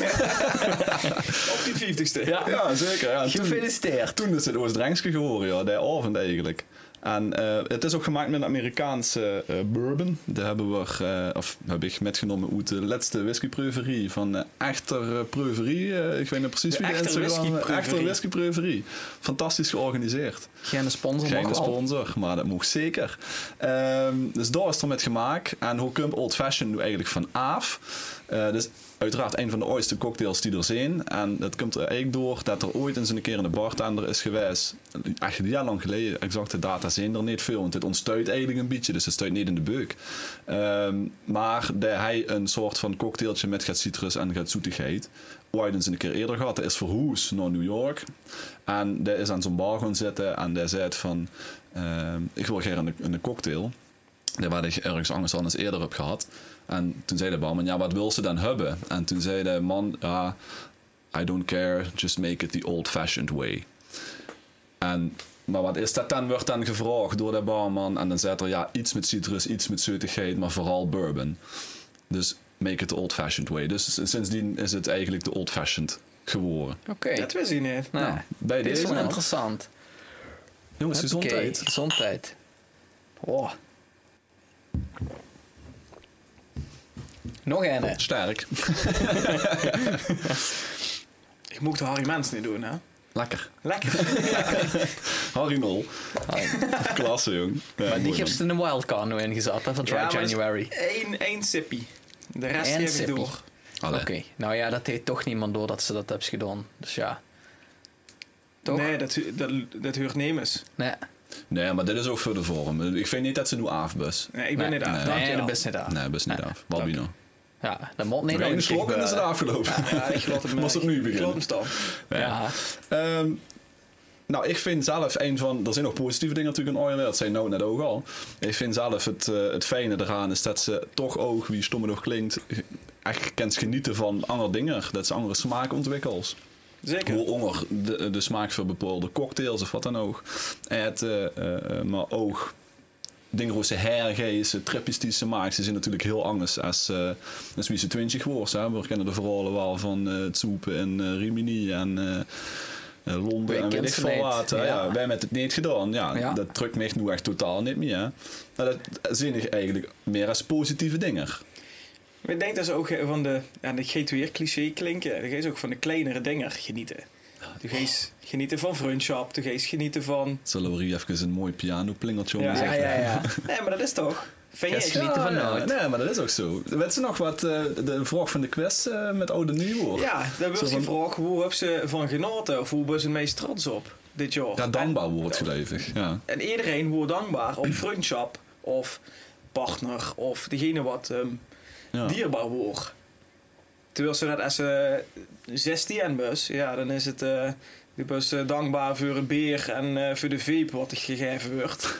op die vijftigste.
Ja.
Ja, zeker. Ja. Toen-
Gefeliciteerd.
Toen is het Oost-Drengske geworden, ja, die avond eigenlijk. En eh, het is ook gemaakt met een Amerikaanse eh, bourbon. Daar hebben we, eh, of heb ik metgenomen uit de laatste whiskyproeverie van eh Echter eh, Proeverie. Eh, ik weet niet precies
De
wie de
Echter
Instagram...
Whiskyproeverie.
Echter Whiskyproeverie. Fantastisch georganiseerd.
Geen sponsor,
Geen
nog wel.
sponsor, maar dat mocht zeker. Ehm, dus daar is het er met gemaakt. En hoe komt Old Fashioned nu eigenlijk van af? Eh dus uiteraard een van de ooitste cocktails die er zijn. En dat komt er eigenlijk door dat er ooit eens een keer een bartender is geweest. Echt jaar lang geleden, exacte data zijn er niet veel. Want het ontstuit eigenlijk een beetje, dus het stuit niet in de beuk. Ehm, maar dat hij een soort van cocktailtje met gaat citrus en gaat zoetigheid. Ooit eens een keer eerder gehad. Dat is verhoes naar New York. En die is aan zo'n bar gaan zitten en die zei het van... ehm, ik wil graag een, een cocktail. Daar waar ik ergens anders al eens eerder op gehad. En toen zei de barman, ja, wat wil ze dan hebben? En toen zei de man, ja, I don't care, just make it the old-fashioned way. En, maar wat is dat dan? Wordt dan gevraagd door de barman. En dan zet er, ja, iets met citrus, iets met zoetigheid, maar vooral bourbon. Dus make it the old-fashioned way. Dus sindsdien is het eigenlijk de old-fashioned geworden.
Oké.
Dat wist ik niet.
Nou,
Ja, bij
dit is
deze
wel
wel.
interessant.
Jongens,
Huppakee,
gezondheid.
Gezondheid. Oh. Nog een.
Sterk.
Ik mocht de Harry Mens niet doen, hè?
Lekker.
Lekker.
Harry Nol. Klasse, jong. Ja,
Maar Eh, die
mooi,
heeft
man.
in de wildcard nu ingezet, hè, van Dry
Ja, maar dat is-
January.
Eén, één sippie. De rest
En
geef ik
sippie.
door.
Allee.
Oké, nou ja, dat deed toch niemand door dat ze dat hebben gedaan. Dus ja. Toch?
Nee, dat, hu- dat, dat huurt nemens.
Nee,
Nee, maar dit is ook voor de vorm. Ik vind niet dat ze nu afbus.
Nee, ik ben
nee.
niet aan.
Nee,
dankjewel.
dat is niet af.
Nee, best niet
Nee, nou, eh,
af. Balbino.
Ja, dat moet niet.
De ene slok
dus
en is het afgelopen.
Ja, ik geloof hem.
Was het nu
Ik
beginnen?
geloof hem
Ja.
staan.
ja.
Ehm, nou, ik vind zelf een van. Er zijn nog positieve dingen natuurlijk in Oil, dat zei nou net ook al. Ik vind zelf het, eh, het fijne eraan is dat ze toch ook, wie stomme nog klinkt, echt kent genieten van andere dingen. Dat ze andere smaak ontwikkelt.
Zeker.
Hoe honger de, de smaak voor bepaalde cocktails of wat dan ook. Het, eh, eh, eh, maar ook dingen hoe ze hergeven, tripjes die ze maakt, ze zijn natuurlijk heel anders als, eh als wie ze 20 was. Hè. We kennen de verhalen wel van eh Tsoepen en eh, Rimini en eh, eh, Londen
Wij
en weet
kent
ik
ze
veel
niet,
wat. hè.
ja.
Ja, wij met het niet gedaan. Ja,
Ja.
Dat drukt me echt nu echt totaal niet meer. hè. Maar dat zie ik eigenlijk meer als positieve dingen.
Ik denk dat ze ook eh, van de. Ja, dat geeft weer cliché klinken. Dan geeft ook van de kleinere dingen genieten. Toen geeft genieten van vriendschap. Toen geeft genieten van.
Zullen we hier even een mooi pianoplingeltje om
Ja.
ja,
zeggen?
ja,
Nee, maar dat is toch? Vind je
Yes.
echt niet?
Genieten van nood.
Nee, maar dat is ook zo. Weet ze nog wat eh, de vraag van de quest eh, met Oude Nieuwhoor?
Ja, dan
Zo
wordt
van-
je vraag hoe hebben ze van genoten? Of hoe ben ze het meest trots op dit jaar?
Ja, dankbaar wordt gelevig. Ja.
En, en iedereen wordt dankbaar op vriendschap of partner of degene wat ehm,
Ja.
dierbaar wordt. Terwijl ze dat als eh 16 bus, ja, dan is het. eh die bus eh, dankbaar voor een beer en eh, voor de veep wat er gegeven wordt.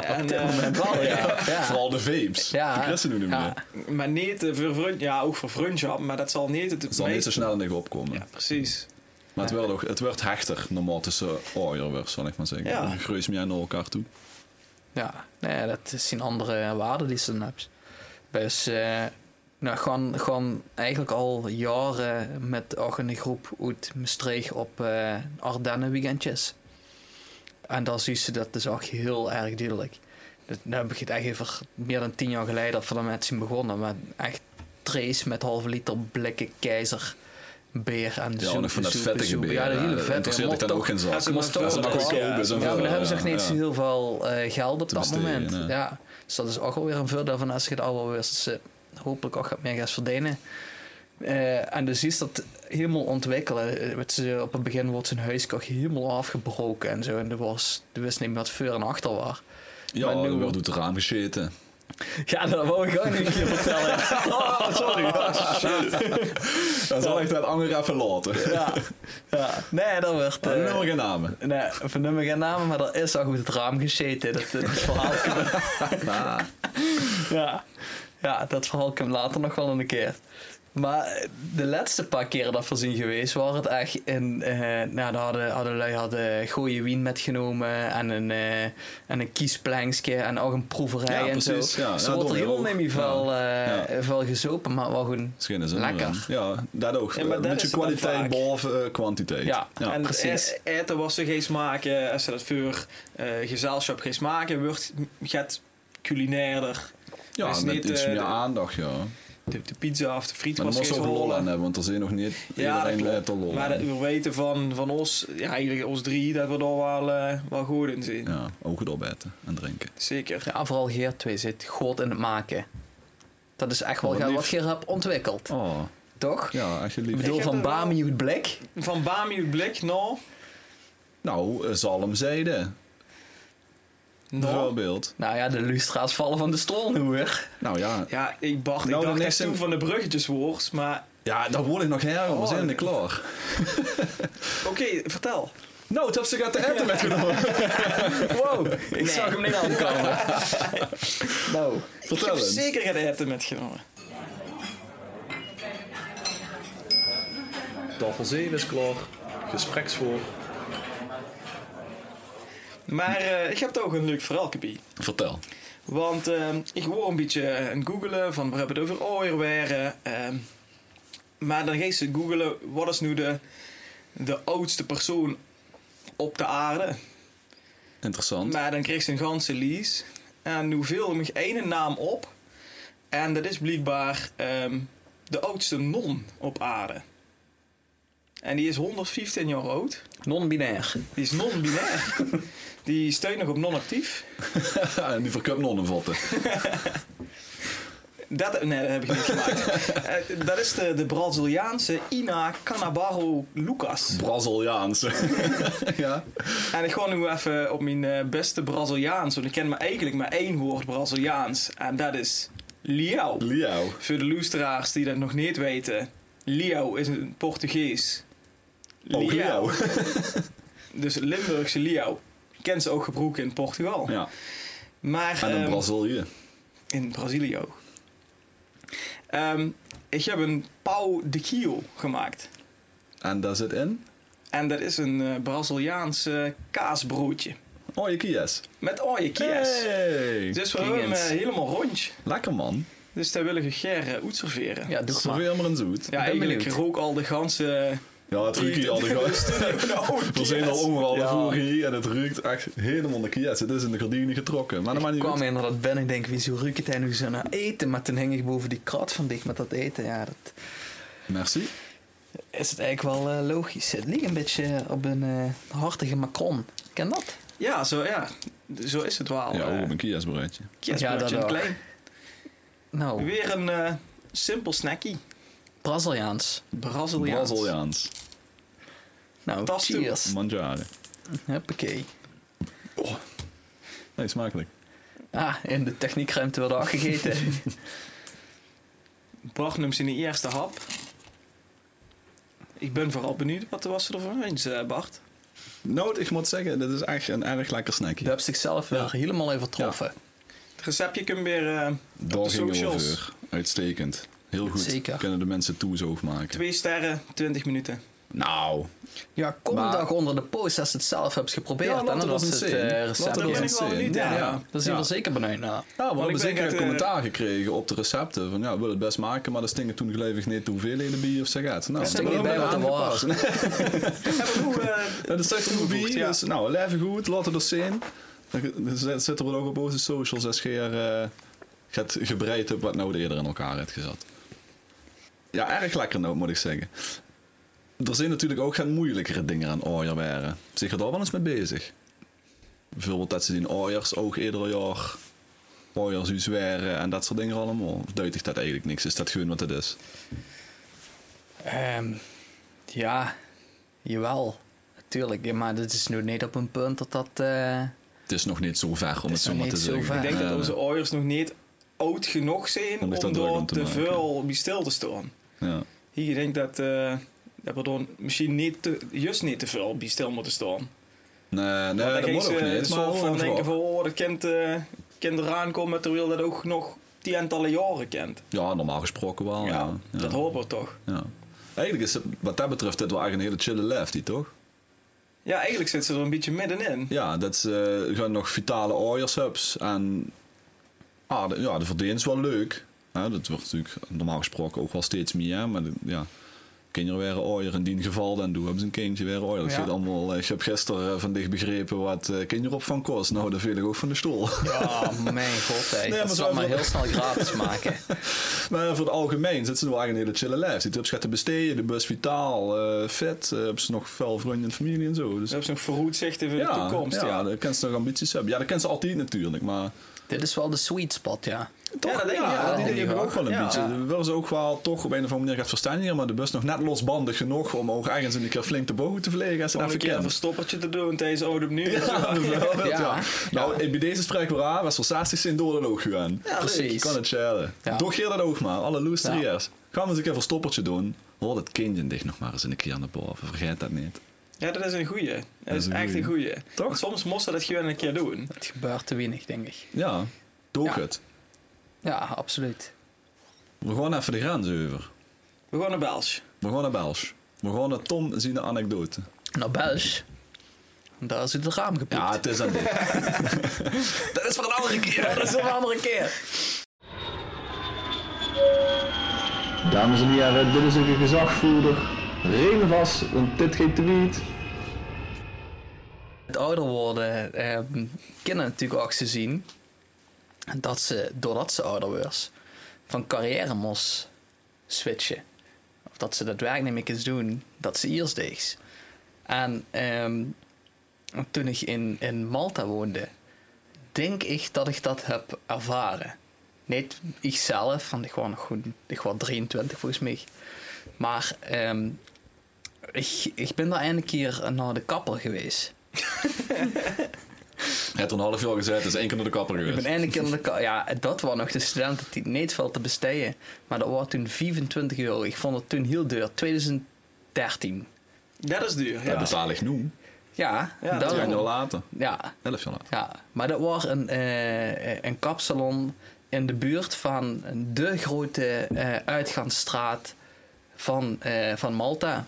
en, eh,
ja. ja.
Vooral de vapes.
Ja.
Die kressen nu niet meer.
Ja.
maar niet eh, voor vriend, ja, ook voor vriendschap, maar dat zal niet het
Het zal niet
meest-
zo snel niet opkomen.
Ja, precies.
Maar het werd, ook, het werd hechter normaal tussen ooierwers, zal ik maar zeggen.
Ja.
Ja. Greus mij naar elkaar toe.
Dus Ja, nee, dat zijn andere waarden die ze dan hebben. Dus, eh, nou, gewoon, gewoon eigenlijk al jaren met ook een groep uit Maastricht op eh Ardennen weekendjes. En dan zie je dat dus ook heel erg duidelijk. Dat, nou heb ik het echt even meer dan tien jaar geleden dat we daarmee zijn begonnen. Maar echt trace met halve liter blikken keizer beer en
Ja, nog van dat vettige beer.
Ja, dat hele
dat
vette.
interesseert ik dan ook geen zak.
Als ze maar
Moest
veel
ook
Als het maar
wel.
goedkoop is.
Ja, maar dan hebben ze echt niet zo heel veel eh, geld op
Te
dat
besteden,
moment.
ja.
Ja. Dus dat is ook alweer een voordeel van als je het alweer dus, eh, hopelijk ook gaat meer gaat verdienen. Eh, en dus is dat helemaal ontwikkelen. Eh, weet ze, op het begin wordt zijn huis ook helemaal afgebroken en zo. En er, was, er wist niet meer wat voor en achter was.
Ja,
Maar nu-
dan wordt het raam gescheten.
Ja, dat wou ik ook niet een keer vertellen. Oh, sorry. Oh, shit.
Dat zal ik dat andere even laten.
Ja. ja. Nee, dat werd... eh,
En nummer geen namen.
Nee, van nummer geen namen, maar er is al goed het raam gescheten. Dat, dat verhaal kan ja. ja, dat verhaal kan later nog wel een keer. Maar de laatste paar keren dat we zien geweest, waren het echt in... eh nou, daar hadden, hadden lui hadden gooie wien metgenomen en een, eh en een kiesplanksje en ook een proeverij
Ja,
en zo.
precies, ja.
Ze
Ja,
wordt er
door,
helemaal
ook.
niet veel,
Ja.
eh, veel gezopen, maar wel gewoon...
Misschien is het
Lekker.
een- Ja, dat ook.
Ja, maar
een
daar
beetje
is het dan
kwaliteit
vaak.
boven eh, kwantiteit.
Ja.
en
precies.
e- eten was ze geen smaken. Als ze dat voor eh, gezelschap geen smaken, wordt het culinairder.
Ja,
Dus
met
niet,
iets
eh,
meer
de-
aandacht, ja.
De, de pizza of de friet
Maar er
was
moet
geen
ook
lol
lol aan hebben, want er zijn nog niet
Ja, dat
iedereen eh,
klopt.
heeft er lol
Maar eh, dat
aan.
we weten van, van ons, ja, eigenlijk ons drie, dat we daar wel, eh, wel goed in zijn.
Ja, ook goed opeten en drinken.
Zeker.
Ja, vooral Geert 2 zit goed in het maken. Dat is echt wel
Oh, Wat
wat,
lief.
wat Geert hebt ontwikkeld,
Oh,
toch?
ja, als je
Ik
lief.
bedoel,
Ik heb
van
er wel-
Bami het blik.
Van Bami uw blik, nou.
Nou, eh, zalmzijde,
Nou.
bijvoorbeeld.
Nou ja, de lustra's vallen van de stoel nu weer.
Nou ja,
Ja, ik Bart,
Nou,
ik
dan
dacht echt
is het-
toen van de bruggetjeswoord, maar
ja daar word ik nog heel
Oh.
over in, klaar.
oké, vertel.
Nou, het heb ze gaat te eten met
Wow, ik zag hem niet aankomen. nou,
Ik
Vertel
heb
eens.
zeker het eten metgenomen.
Tafel 7 is klaar, gespreksvoor.
Maar eh, ik heb toch een leuk verhaal, Kapi.
Vertel.
Want eh, ik hoor een beetje aan het googelen van we hebben het over Oh, ooierwaren. ehm maar dan geeft ze googelen wat is nu de, de oudste persoon op de aarde.
Interessant.
Maar dan kreeg ze een ganse lease. En nu viel hem één naam op. En dat is blijkbaar ehm, de oudste non op aarde. En die is 115 jaar oud.
non-binair.
Die is non-binair. die steunt nog op non-actief.
en die verkupt nonnenvotten.
Dat, nee, dat heb ik niet gemaakt. Eh, dat is de, de Braziliaanse Ina Canabarro Lucas.
Braziliaanse. ja.
En ik ga nu even op mijn eh, beste Braziliaans. Want ik ken maar eigenlijk maar één woord Braziliaans. En dat is Liao.
Liao.
Voor de luisteraars die dat nog niet weten. Liao is een Portugees.
Ook Oh, Liao.
Dus Limburgse Liao. Kent ze ook gebroken in Portugal.
ja.
Maar,
En een
ehm,
Brazilië.
in Brazilië ook. Ehm, ik heb een pau de Quio gemaakt.
En daar zit in?
En dat is een eh, Braziliaans eh, kaasbroodje.
Oh, je kies.
Met ooie kies.
Hey.
Dus we hebben hem eh,
Klingens.
helemaal rond.
Lekker man.
Dus daar willen we Ger eh, uit serveren.
Ja, doe maar.
Zoveel maar een zoet.
Ja,
ben
eigenlijk
benieuwd.
rook al de ganse...
Ja, het ruikt hier al de gast. We zijn al overal de
Ja.
voer hier en het ruikt echt helemaal de kies. Het is in de gordijnen getrokken. Maar dat maakt
Ik
niet
kwam
uit.
inderdaad binnen en denk, wie zo ruikt het hij nu zo naar eten? Maar toen hing ik boven die krat van dicht met dat eten. Ja, dat
Merci.
is het eigenlijk wel eh, logisch. Het ligt een beetje op een eh, hartige macron. Ken dat?
Ja, zo, ja, zo is het wel.
Ja, oh. ook
eh,
op een kiesbroodje.
Ja, dat
kiesbroodje in
ook.
klein.
Nou,
Weer een eh, simpel snackie.
Braziliaans.
Braziliaans.
Braziliaans.
Nou,
Tas toe.
cheers.
Mangiare.
Huppakee.
Nee, smakelijk.
Ah, in de techniekruimte werd afgegeten.
Barnum zijn eerste hap. Ik ben vooral benieuwd wat er was er voor eens, eh, Bart.
Nood, ik moet zeggen, dit is echt een erg lekker
Je
snackje.
hebt zichzelf weer helemaal overtroffen.
Het receptje kun Dus je weer eh, op de
Daar ging
socials.
over. Uitstekend. Heel goed.
Zeker.
Kunnen de mensen toezoog maken.
Twee sterren, 20 minuten.
Nou,
Ja, kom
Maar-
toch onder de post als je het zelf hebt geprobeerd.
Ja,
en
laat
dan
het
was het
ons zien.
eh,
Laat het
recept.
ons
Daar ben
in.
ik wel
zin.
benieuwd
Ja,
naar.
ja. daar zijn
Ja.
we zeker benieuwd naar.
ja, we
ik
hebben
denk
zeker
dat, eh,
commentaar gekregen op de recepten. Van ja, we willen het best maken, maar dat stinkt toen gelevig niet de hoeveelheden bier of sigaret. Nou,
Dat stinkt
we
niet bij
hebben
wat er
aangepast.
Hebben we, eh,
Dat is slecht een bier,
Toegevoegd, ja.
dus nou, leven goed, laten we er zijn. Dan dan zet- zetten we het ook op onze socials als je er, eh, gaat gebreid op wat nou eerder in elkaar hebt gezet. Ja, erg lekker noot moet ik nou, zeggen. er zijn natuurlijk ook geen moeilijkere dingen aan ooier waren. Zich er daar wel eens mee bezig. Bijvoorbeeld dat ze die ooiers ook ieder jaar ooiershuis waren en dat soort dingen allemaal. Of duidt dat eigenlijk niks? Is dat gewoon wat het is?
Ehm, ja, jawel. Natuurlijk, ja, maar dat is nu niet op een punt dat dat... eh,
Het is nog niet zo ver om
Het
het
is
zo
nog
maar te
niet zo
zeggen.
ver.
Ik denk
Ja,
dat onze ooiers nog niet oud genoeg zijn
Om
om,
zich daar druk
door
om te
te
maken.
veel bij stil te staan.
ja.
Hier, ik denk dat, eh dat we er misschien niet te, juist niet te veel bij stil moeten staan.
Nee, nee
Want dan
Eh, dat
gaan
moet ook niet.
ze een
Maar
soort van
gewoon
denken van,
voor.
oh, dat kind, eh, kind eraan komen terwijl dat ook nog tientallen jaren kent.
Ja, normaal gesproken wel. Oh Ja,
ja,
ja.
dat hopen we toch.
Ja. Eigenlijk is het, wat dat betreft dit wel echt een hele chille lefty, toch?
Ja, eigenlijk zit ze er een beetje middenin.
Ja, dat ze eh, gewoon nog vitale ooiershubs. En ah, de, ja, de verdien is wel leuk. Hè, dat wordt natuurlijk normaal gesproken ook wel steeds meer. hè, Maar de- ja, kinderen waren ooier in die geval. Dan doen hebben ze een kindje weer ooier. Dat
Ja.
gaat allemaal, eh, ik heb gisteren eh, van dicht begrepen wat eh, kinderopvang kost. Nou, dat viel ik ook van de stoel.
Ja, Oh, mijn god, hey.
Ah. maar
dat
zo-
zal maar heel snel gratis maken.
Maar voor het algemeen zitten ze wel eigenlijk een hele chille lijf. Die tips gaat te besteden, de bus vitaal, eh vet. eh hebben ze nog veel vrienden en familie en zo. Dus
Ze hebben zo'n vooruitzichten voor de toekomst.
ja,
Ja, ja.
dan kan ze nog ambities hebben. Ja, dat kan ze altijd natuurlijk, maar...
Dit is wel de sweet spot, ja.
Toch,
dat denk ik
ja, die
wel.
Ja,
dingen
die
hebben
wel.
ook wel een
Ja.
beetje. We willen ze ook wel toch op een of andere manier gaan verstaan hier, maar de bus nog net losbandig genoeg om ook ergens een keer flink de bogen te vliegen als ze
Om
dat
een keer
verkennen.
een verstoppertje te doen tijdens Ode opnieuw.
Ja, bijvoorbeeld, ja.
Ja.
Nou, bij deze spreken we aan, was voor 60 zijn door dan ook gegaan.
Ja, precies.
Ik kan het schelen.
Ja.
Doch hier dat ook maar, alle
Ja.
loesteriers. Gaan we eens een keer een verstoppertje doen. Hoor dat kindje dicht nog maar eens een keer naar boven, vergeet dat niet.
Ja, dat is een goeie. Dat, is,
een
echt
goeie.
een goeie.
Toch?
Want soms moest ze dat gewoon een keer doen.
Het gebeurt te weinig, denk ik.
Ja, doe
Ja.
het.
Ja, absoluut.
We gaan even de grens over.
We gaan naar Belge.
We gaan naar Belsch. We gaan naar Tom zien de anekdote.
Nou, Belge, daar is het raam gepikt.
Ja, het is aan dit.
dat is voor een andere keer. dat is voor een andere keer.
Dames en heren, dit is een gezagvoerder. Reden vast, want dit geeft de wiet.
Het ouder worden, eh, kinderen natuurlijk ook te zien dat ze, doordat ze ouder was, van carrière moest switchen. Of dat ze dat werk niet meer kunnen doen, dat ze eerst deed. En ehm, toen ik in, in Malta woonde, denk ik dat ik dat heb ervaren. Niet ikzelf, want ik was nog goed, ik was 23 volgens mij. Maar ehm, ik, ik ben daar eindelijk een keer naar de kapper geweest.
Het had een half jaar gezet, is één keer naar de kapper
Ik ben
geweest.
eindelijk in de ka- Ja, dat was nog de studententijd. Niet veel te besteden. Maar dat was toen 25 euro. Ik vond het toen heel duur. 2013.
Dat is duur.
Dat
Ja.
betaal ik nu.
Ja,
Ja,
daarom.
Tien jaar later.
Ja,
Elf jaar later.
ja, maar dat was een, eh, een kapsalon in de buurt van de grote eh, uitgaansstraat van, eh, van Malta.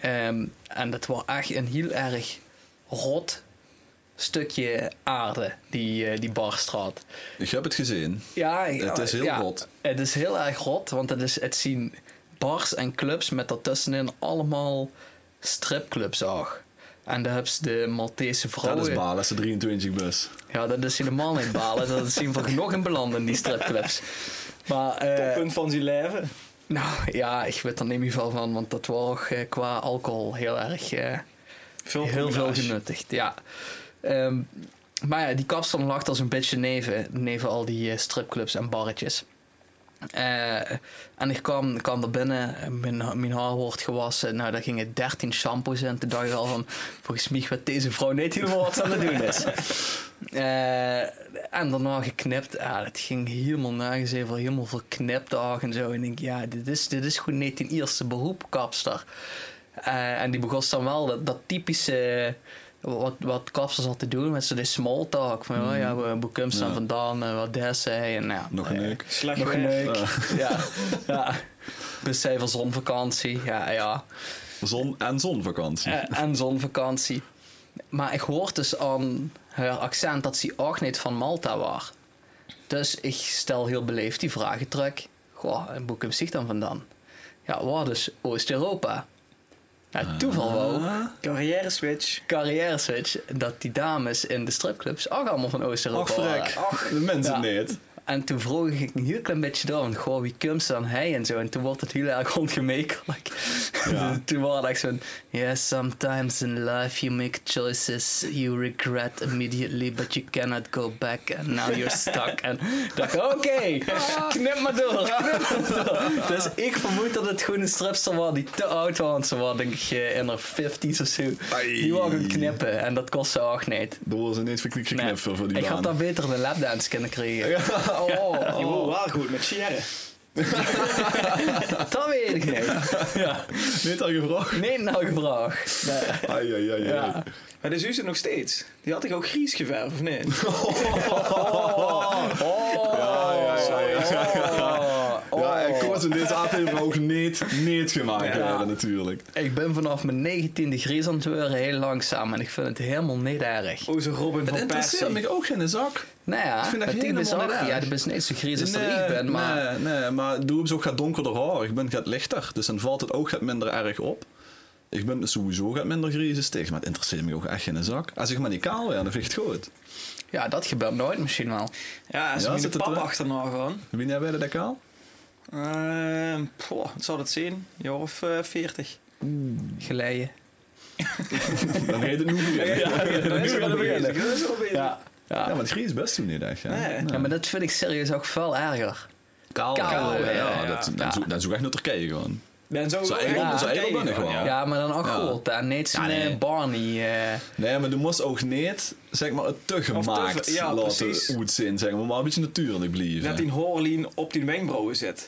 Ehm, en dat was echt een heel erg rot stukje aarde, die, eh, die barstraat.
Ik heb het gezien.
Ja, ja,
Het is heel
ja.
rot.
Het is heel erg rot, want het, is, het zien bars en clubs met daartussenin allemaal stripclubs ook. En daar hebben ze de Maltese vrouwen.
Dat is baal, dat is de 23 bus.
Ja, dat is helemaal niet balen. Dat is zien van nog een beland in die stripclubs. Maar, eh,
Toppunt van zijn leven.
nou ja, ik weet er niet meer veel van, want dat was ook eh, qua alcohol heel erg. eh,
Veel
heel veel
combinatie.
genuttigd, ja. Ehm, maar ja, die kapsalon lag als een beetje neven, neven al die eh, stripclubs en barretjes. Eh, en ik kwam, kwam er binnen, eh, mijn, mijn haar wordt gewassen. Nou, daar gingen 13 shampoos in. Toen dacht ik al van, volgens mij wat deze vrouw niet helemaal wat ze aan het doen is. Eh, en daarna geknipt. Ja, dat ging helemaal nergens even, helemaal verknipt oog en zo. En ik denk, ja, dit is, dit is gewoon niet in eerste beroep, kapster. Eh, en die begon dan wel dat, dat typische... Wat, wat kapsters altijd doen met zo'n small talk. Van, oh ja, waar, waar komt ze dan
Mhm. Ja.
vandaan? en wat des hij? En, ja,
Nog
eh,
een leuk.
Slecht
nog een
werk.
neuk. Ja. ja. Dus zij van zonvakantie. Ja, ja.
Zon- en zonvakantie.
Eh, En zonvakantie. Maar ik hoor dus aan haar accent dat ze ook niet van Malta was. Dus ik stel heel beleefd die vragen terug. Goh, en boek hem zich dan vandaan? Ja, waar dus Oost-Europa? Ja, toeval wou
Carrière switch.
carrière switch dat die dames in de stripclubs ook allemaal van
Ach,
Oost-Europa
vrek.
waren.
De Oh, mensen niet.
En toen vroeg ik een heel klein beetje door, want goh, wie komt dan hij en zo. En toen wordt het heel erg ongemekelijk.
Ja.
toen was ik zo'n, yeah, sometimes in life you make choices you regret immediately, but you cannot go back and now you're stuck. en dacht ik, oké, knip maar door, knip maar door. Dus ik vermoed dat het gewoon een stripster was die te oud was, want ze was denk ik eh, in haar 50s of zo. Die wou gaan knippen en dat kostte ook niet.
Er wordt ineens verknipt
Nee.
geknipt voor die
ik
baan.
had daar beter een lapdance kunnen krijgen. Oh,
Je wordt wel goed met Sierre.
Dat weet ik niet.
Niet al gevraagd.
Nee, nou gevraagd. Nee.
Ai, ai, ai, ai.
Ja.
Maar de zus nog steeds. Die had ik ook Gries geverfd, of Oh, niet?
Oh, Ja, ja, ja, ja.
Oh, oh.
Ja, en kort in deze aflevering ook niet, niet gemaakt
Ja.
werden natuurlijk.
Ik ben vanaf mijn negentiende gries aan het worden, heel langzaam. En ik vind het helemaal niet erg.
Oh, zo Robin
Het
van Persie.
interesseert me ook geen zak.
Nou ja,
Ik vind dat
het team
helemaal
is ook...
niet erg.
Ja, dat is niet zo gries als dat ik ben, maar...
Nee, nee, maar doe hem zo gaat donkerder haar. Ik ben gaat lichter, dus dan valt het ook gaat minder erg op. Ik ben sowieso gaat minder griezen steeds, maar het interesseert me ook echt geen zak. Als ik maar niet kaal ben, dan vind ik het goed.
Ja, dat gebeurt nooit misschien wel.
Ja, ze
Ja,
ja,
zit
de
het
pap
er-
achterna gewoon.
Wie jij wilde dat kaal?
Ehm, poh, wat zou dat zijn? Een jaar of eh, 40.
Geleien.
Dan heet het nu weer. Ja,
Ja, dat is
nu
wel
gaan we
bezig.
beginnen.
Dat is wel bezig.
Ja. Ja.
maar het gries best toen niet echt. Ja.
Nee.
ja, maar dat vind ik serieus ook veel erger.
Kaal,
Kaal,
kaal, ja,
ja,
ja,
ja.
dat- dan, Zoek, dan zoek echt naar Turkije gewoon.
Ben zo
Zo
echt
edel,
aan
zo
het
edel ben ik
kijken.
gewoon.
Ja, maar dan ook
Ja.
goed. En niet zo'n
Ja, nee.
eh, Barney. eh.
Nee, maar je moest ook niet, zeg maar, het te gemaakt
te- ja,
laten
precies.
hoe het zin, zeg maar, maar een beetje natuurlijk blijven.
Dat die Horlien op die wenkbrauwen zit.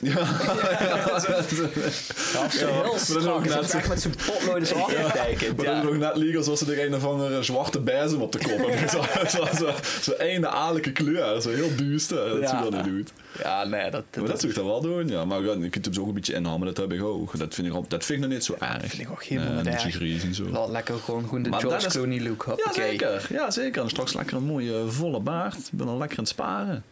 Ja, zo
maar
heel
dat is
strak.
ook
Is
net
dat
zo-
echt met zijn potlood zo afgetekend.
Maar
Ja.
dat is ook net legal zoals ze er een of andere zwarte bezem op de kop hebben. Zo- zo- zo- Zo'n ene adellijke kleur, zo heel duister, dat
Ja.
ze dat niet doet.
ja, nee, dat, dat,
Maar dat zou ik dan wel doen, ja. Maar ja, je kunt hem zo ook een beetje inhammen, dat heb ik ook. Dat vind ik, al- dat vind ik nog niet zo erg. Dat
vind ik ook helemaal
Een
niet
beetje
erg.
gries en zo.
Laat lekker gewoon, gewoon de
Maar
George
dat is-
Clooney look.
Ja,
Hoppakee.
zeker. Ja, zeker. En straks lekker een mooie eh, volle baard. Ik ben al lekker aan het sparen.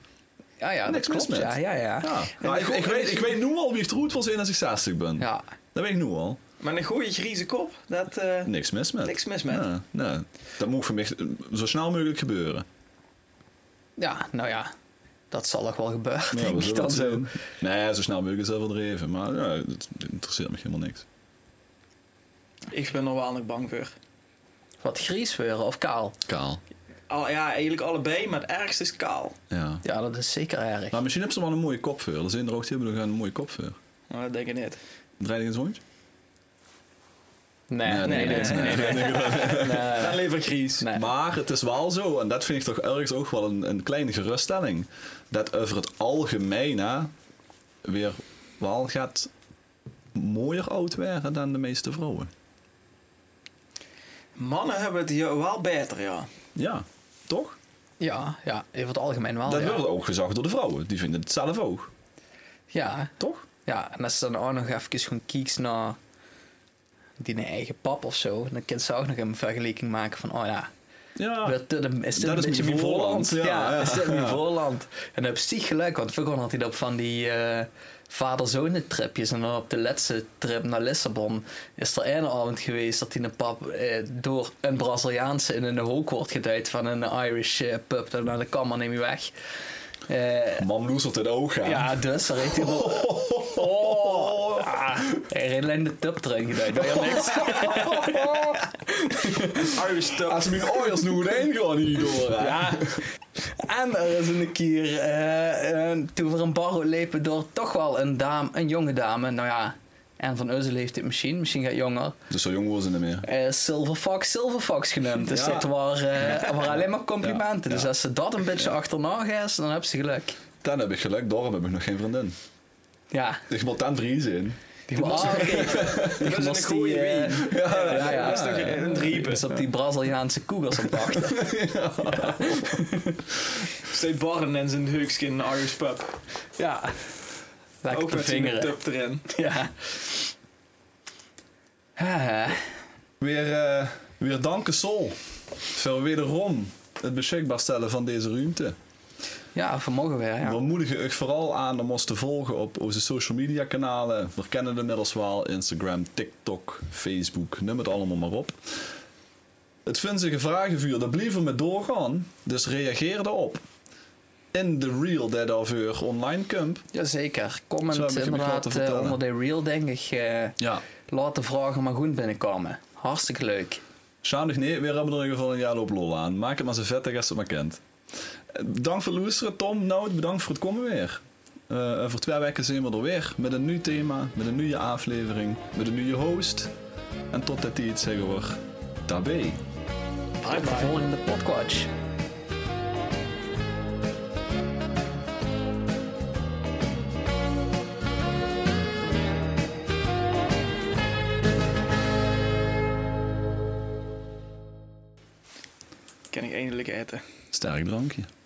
Ja, Ah ja, dat
Niks mis
klopt.
met.
Ja, ja, ja.
Ja. Nou, ik, ik, weet, ik weet nu al wie het roet was in als ik 60 ben.
Ja.
Dat weet ik nu al.
Maar een goede grieze kop, dat... eh,
Niks mis met.
Niks mis met.
Nee, nee. Dat moet voor mij eh, zo snel mogelijk gebeuren.
ja, nou ja. Dat zal nog wel gebeuren,
Ja, we
denk ik
zullen
dan
het
zo.
zien. Nee, zo snel mogelijk is dat wel dreven. Maar ja, het interesseert me helemaal niks.
Ik ben er wel nog bang voor.
Wat gries weer, of kaal.
Kaal.
Al, ja, eigenlijk allebei, maar het ergste is kaal.
Ja.
Ja, dat is zeker erg.
Maar misschien hebben ze wel een mooie kop voor. Er zijn er ook die hebben nog een mooie kop voor.
Maar Nou, dat denk ik niet.
Draai je eens rondje?
Eh, Nee, nee, nee.
nee,
nee,
nee,
nee.
Dan lever Gries.
Nee.
Maar het is wel zo, en dat vind ik toch ergens ook wel een, een kleine geruststelling. Dat over het algemeen hè, weer wel gaat mooier oud werden dan de meeste vrouwen.
Mannen hebben het hier wel beter, ja.
Ja, toch?
Ja, ja, over het algemeen wel.
dat
Ah, ja.
wordt ook gezegd door de vrouwen. Die vinden het zelf ook,
Ja,
toch?
ja, en als ze dan ook nog even gewoon kieks naar die eigen pap of zo, dan kan ze ook nog een vergelijking maken van, oh ja,
Ja.
Werd dit een- is dit
Dat
een
is
beetje
mijn
mijn voorland?
voorland,
Ja,
ja, ja,
is dit mijn
ja.
voorland? En op zich gelijk, want vroeger had hij dat van die eh vader-zonen-tripjes. En dan op de laatste trip naar Lissabon is er een avond geweest dat hij een pap eh, door een Braziliaanse in een hoek wordt geduid van een Irish eh, pub. Dan naar de kamer neem je weg. Eh,
Mam loezert het ook aan.
ja, dus daar heeft hij wel... Oh, ah, hij heeft alleen de tub erin geduid. Doe je niks?
Irish tub.
Als ze mijn oorjas nu heen gaan hier door. hè.
En er is een keer eh, eh, toen we een barro lepen door toch wel een dame, een jonge dame. Nou ja, en van Euzel heeft dit misschien, misschien gaat jonger.
Dus zo jong was ze niet meer.
eh Silver Fox, Silver Fox genoemd. Dus
Ja.
dat waren, eh, waren alleen maar complimenten.
Ja, ja.
Dus als ze dat een beetje achterna gaat, dan heb ze geluk.
Dan heb ik geluk, daarom heb ik nog geen vriendin.
Ja,
Ik moet dan Vries in.
die was oké.
Dat is een
moest die,
goede
eh,
wien.
Ja, ja, ja.
Dat is toch een driepe.
Dus op die Braziliaanse koegels op wachten.
Steed Barren en zijn heukskin in een Irish pub.
Ja. Lekker
Ook
te
met zijn
vingeren.
tub erin.
Ja. Ah,
Weer, eh, weer danken Sol. Voor wederom het beschikbaar stellen van deze ruimte.
ja, vermogen weer. Ja.
We moedigen u vooral aan om ons te volgen op onze social media kanalen. We kennen de middels wel. Instagram, TikTok, Facebook, noem het allemaal maar op. Het vindt zich een vragenvuur, daar blijven we mee doorgaan. Dus reageer erop. in de Real Dead of Uur online camp.
Jazeker.
Zo heb
Comment
ik hem gehad te
inderdaad eh,
vertellen.
onder de reel, denk ik. eh,
Ja.
laat de vragen maar goed binnenkomen. Hartstikke leuk.
Samen nee, we hebben er in ieder geval een jaar op lol aan. Maak het maar zo vet als je het maar kent. Eh, Bedankt voor het luisteren, Tom. Nou, bedankt voor het komen weer. Eh, voor twee weken zijn we er weer. Met een nieuw thema, met een nieuwe aflevering, met een nieuwe host. En totdat die iets zeggen wordt. Tabé.
Tot de volgende podcast.
Kan ik eindelijk eten.
Sterk drankje.